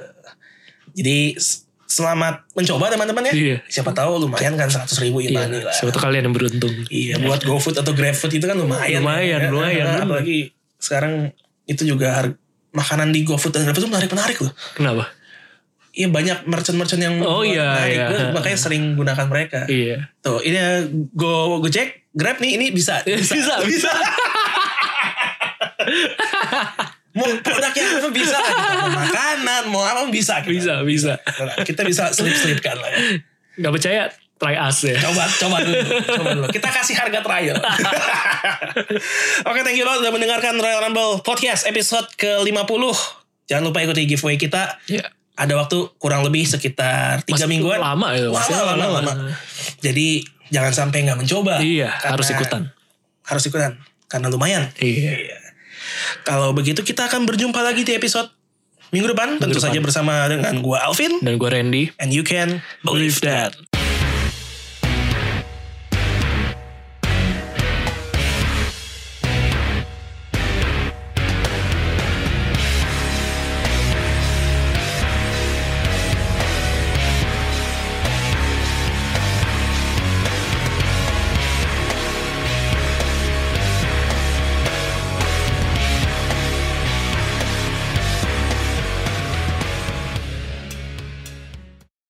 Jadi s- selamat mencoba teman-teman ya. Iya. Siapa tahu lumayan kan 100 ribu iya imani lah. siapa tahu kalian yang beruntung Iya buat GoFood atau GrabFood itu kan lumayan. Nah, Lumayan, ya. lumayan. Eh, Apalagi sekarang itu juga har- makanan di GoFood dan GrabFood itu menarik-menarik loh. kenapa Iya banyak merchant-merchant yang Oh, buat iya, naik. iya. Gua makanya sering gunakan mereka. iya Tuh, ini ya, Go Gojek, Grab nih ini bisa. bisa bisa mau produknya apa bisa lah kita mau makanan mau apa bisa kita. bisa bisa kita bisa slip slipkan lah ya. nggak percaya try us ya coba coba dulu coba dulu kita kasih harga trial oke thank you banget sudah mendengarkan Royal Rumble podcast episode ke 50 jangan lupa ikuti giveaway kita Iya. ada waktu kurang lebih sekitar tiga Masih mingguan lama ya lama masih lama, lama. jadi jangan sampai nggak mencoba iya Karena- harus ikutan harus ikutan karena lumayan iya Kalau begitu kita akan berjumpa lagi di episode minggu depan. tentu depan. saja bersama dengan gua Alvin. dan gue Randy And you can believe that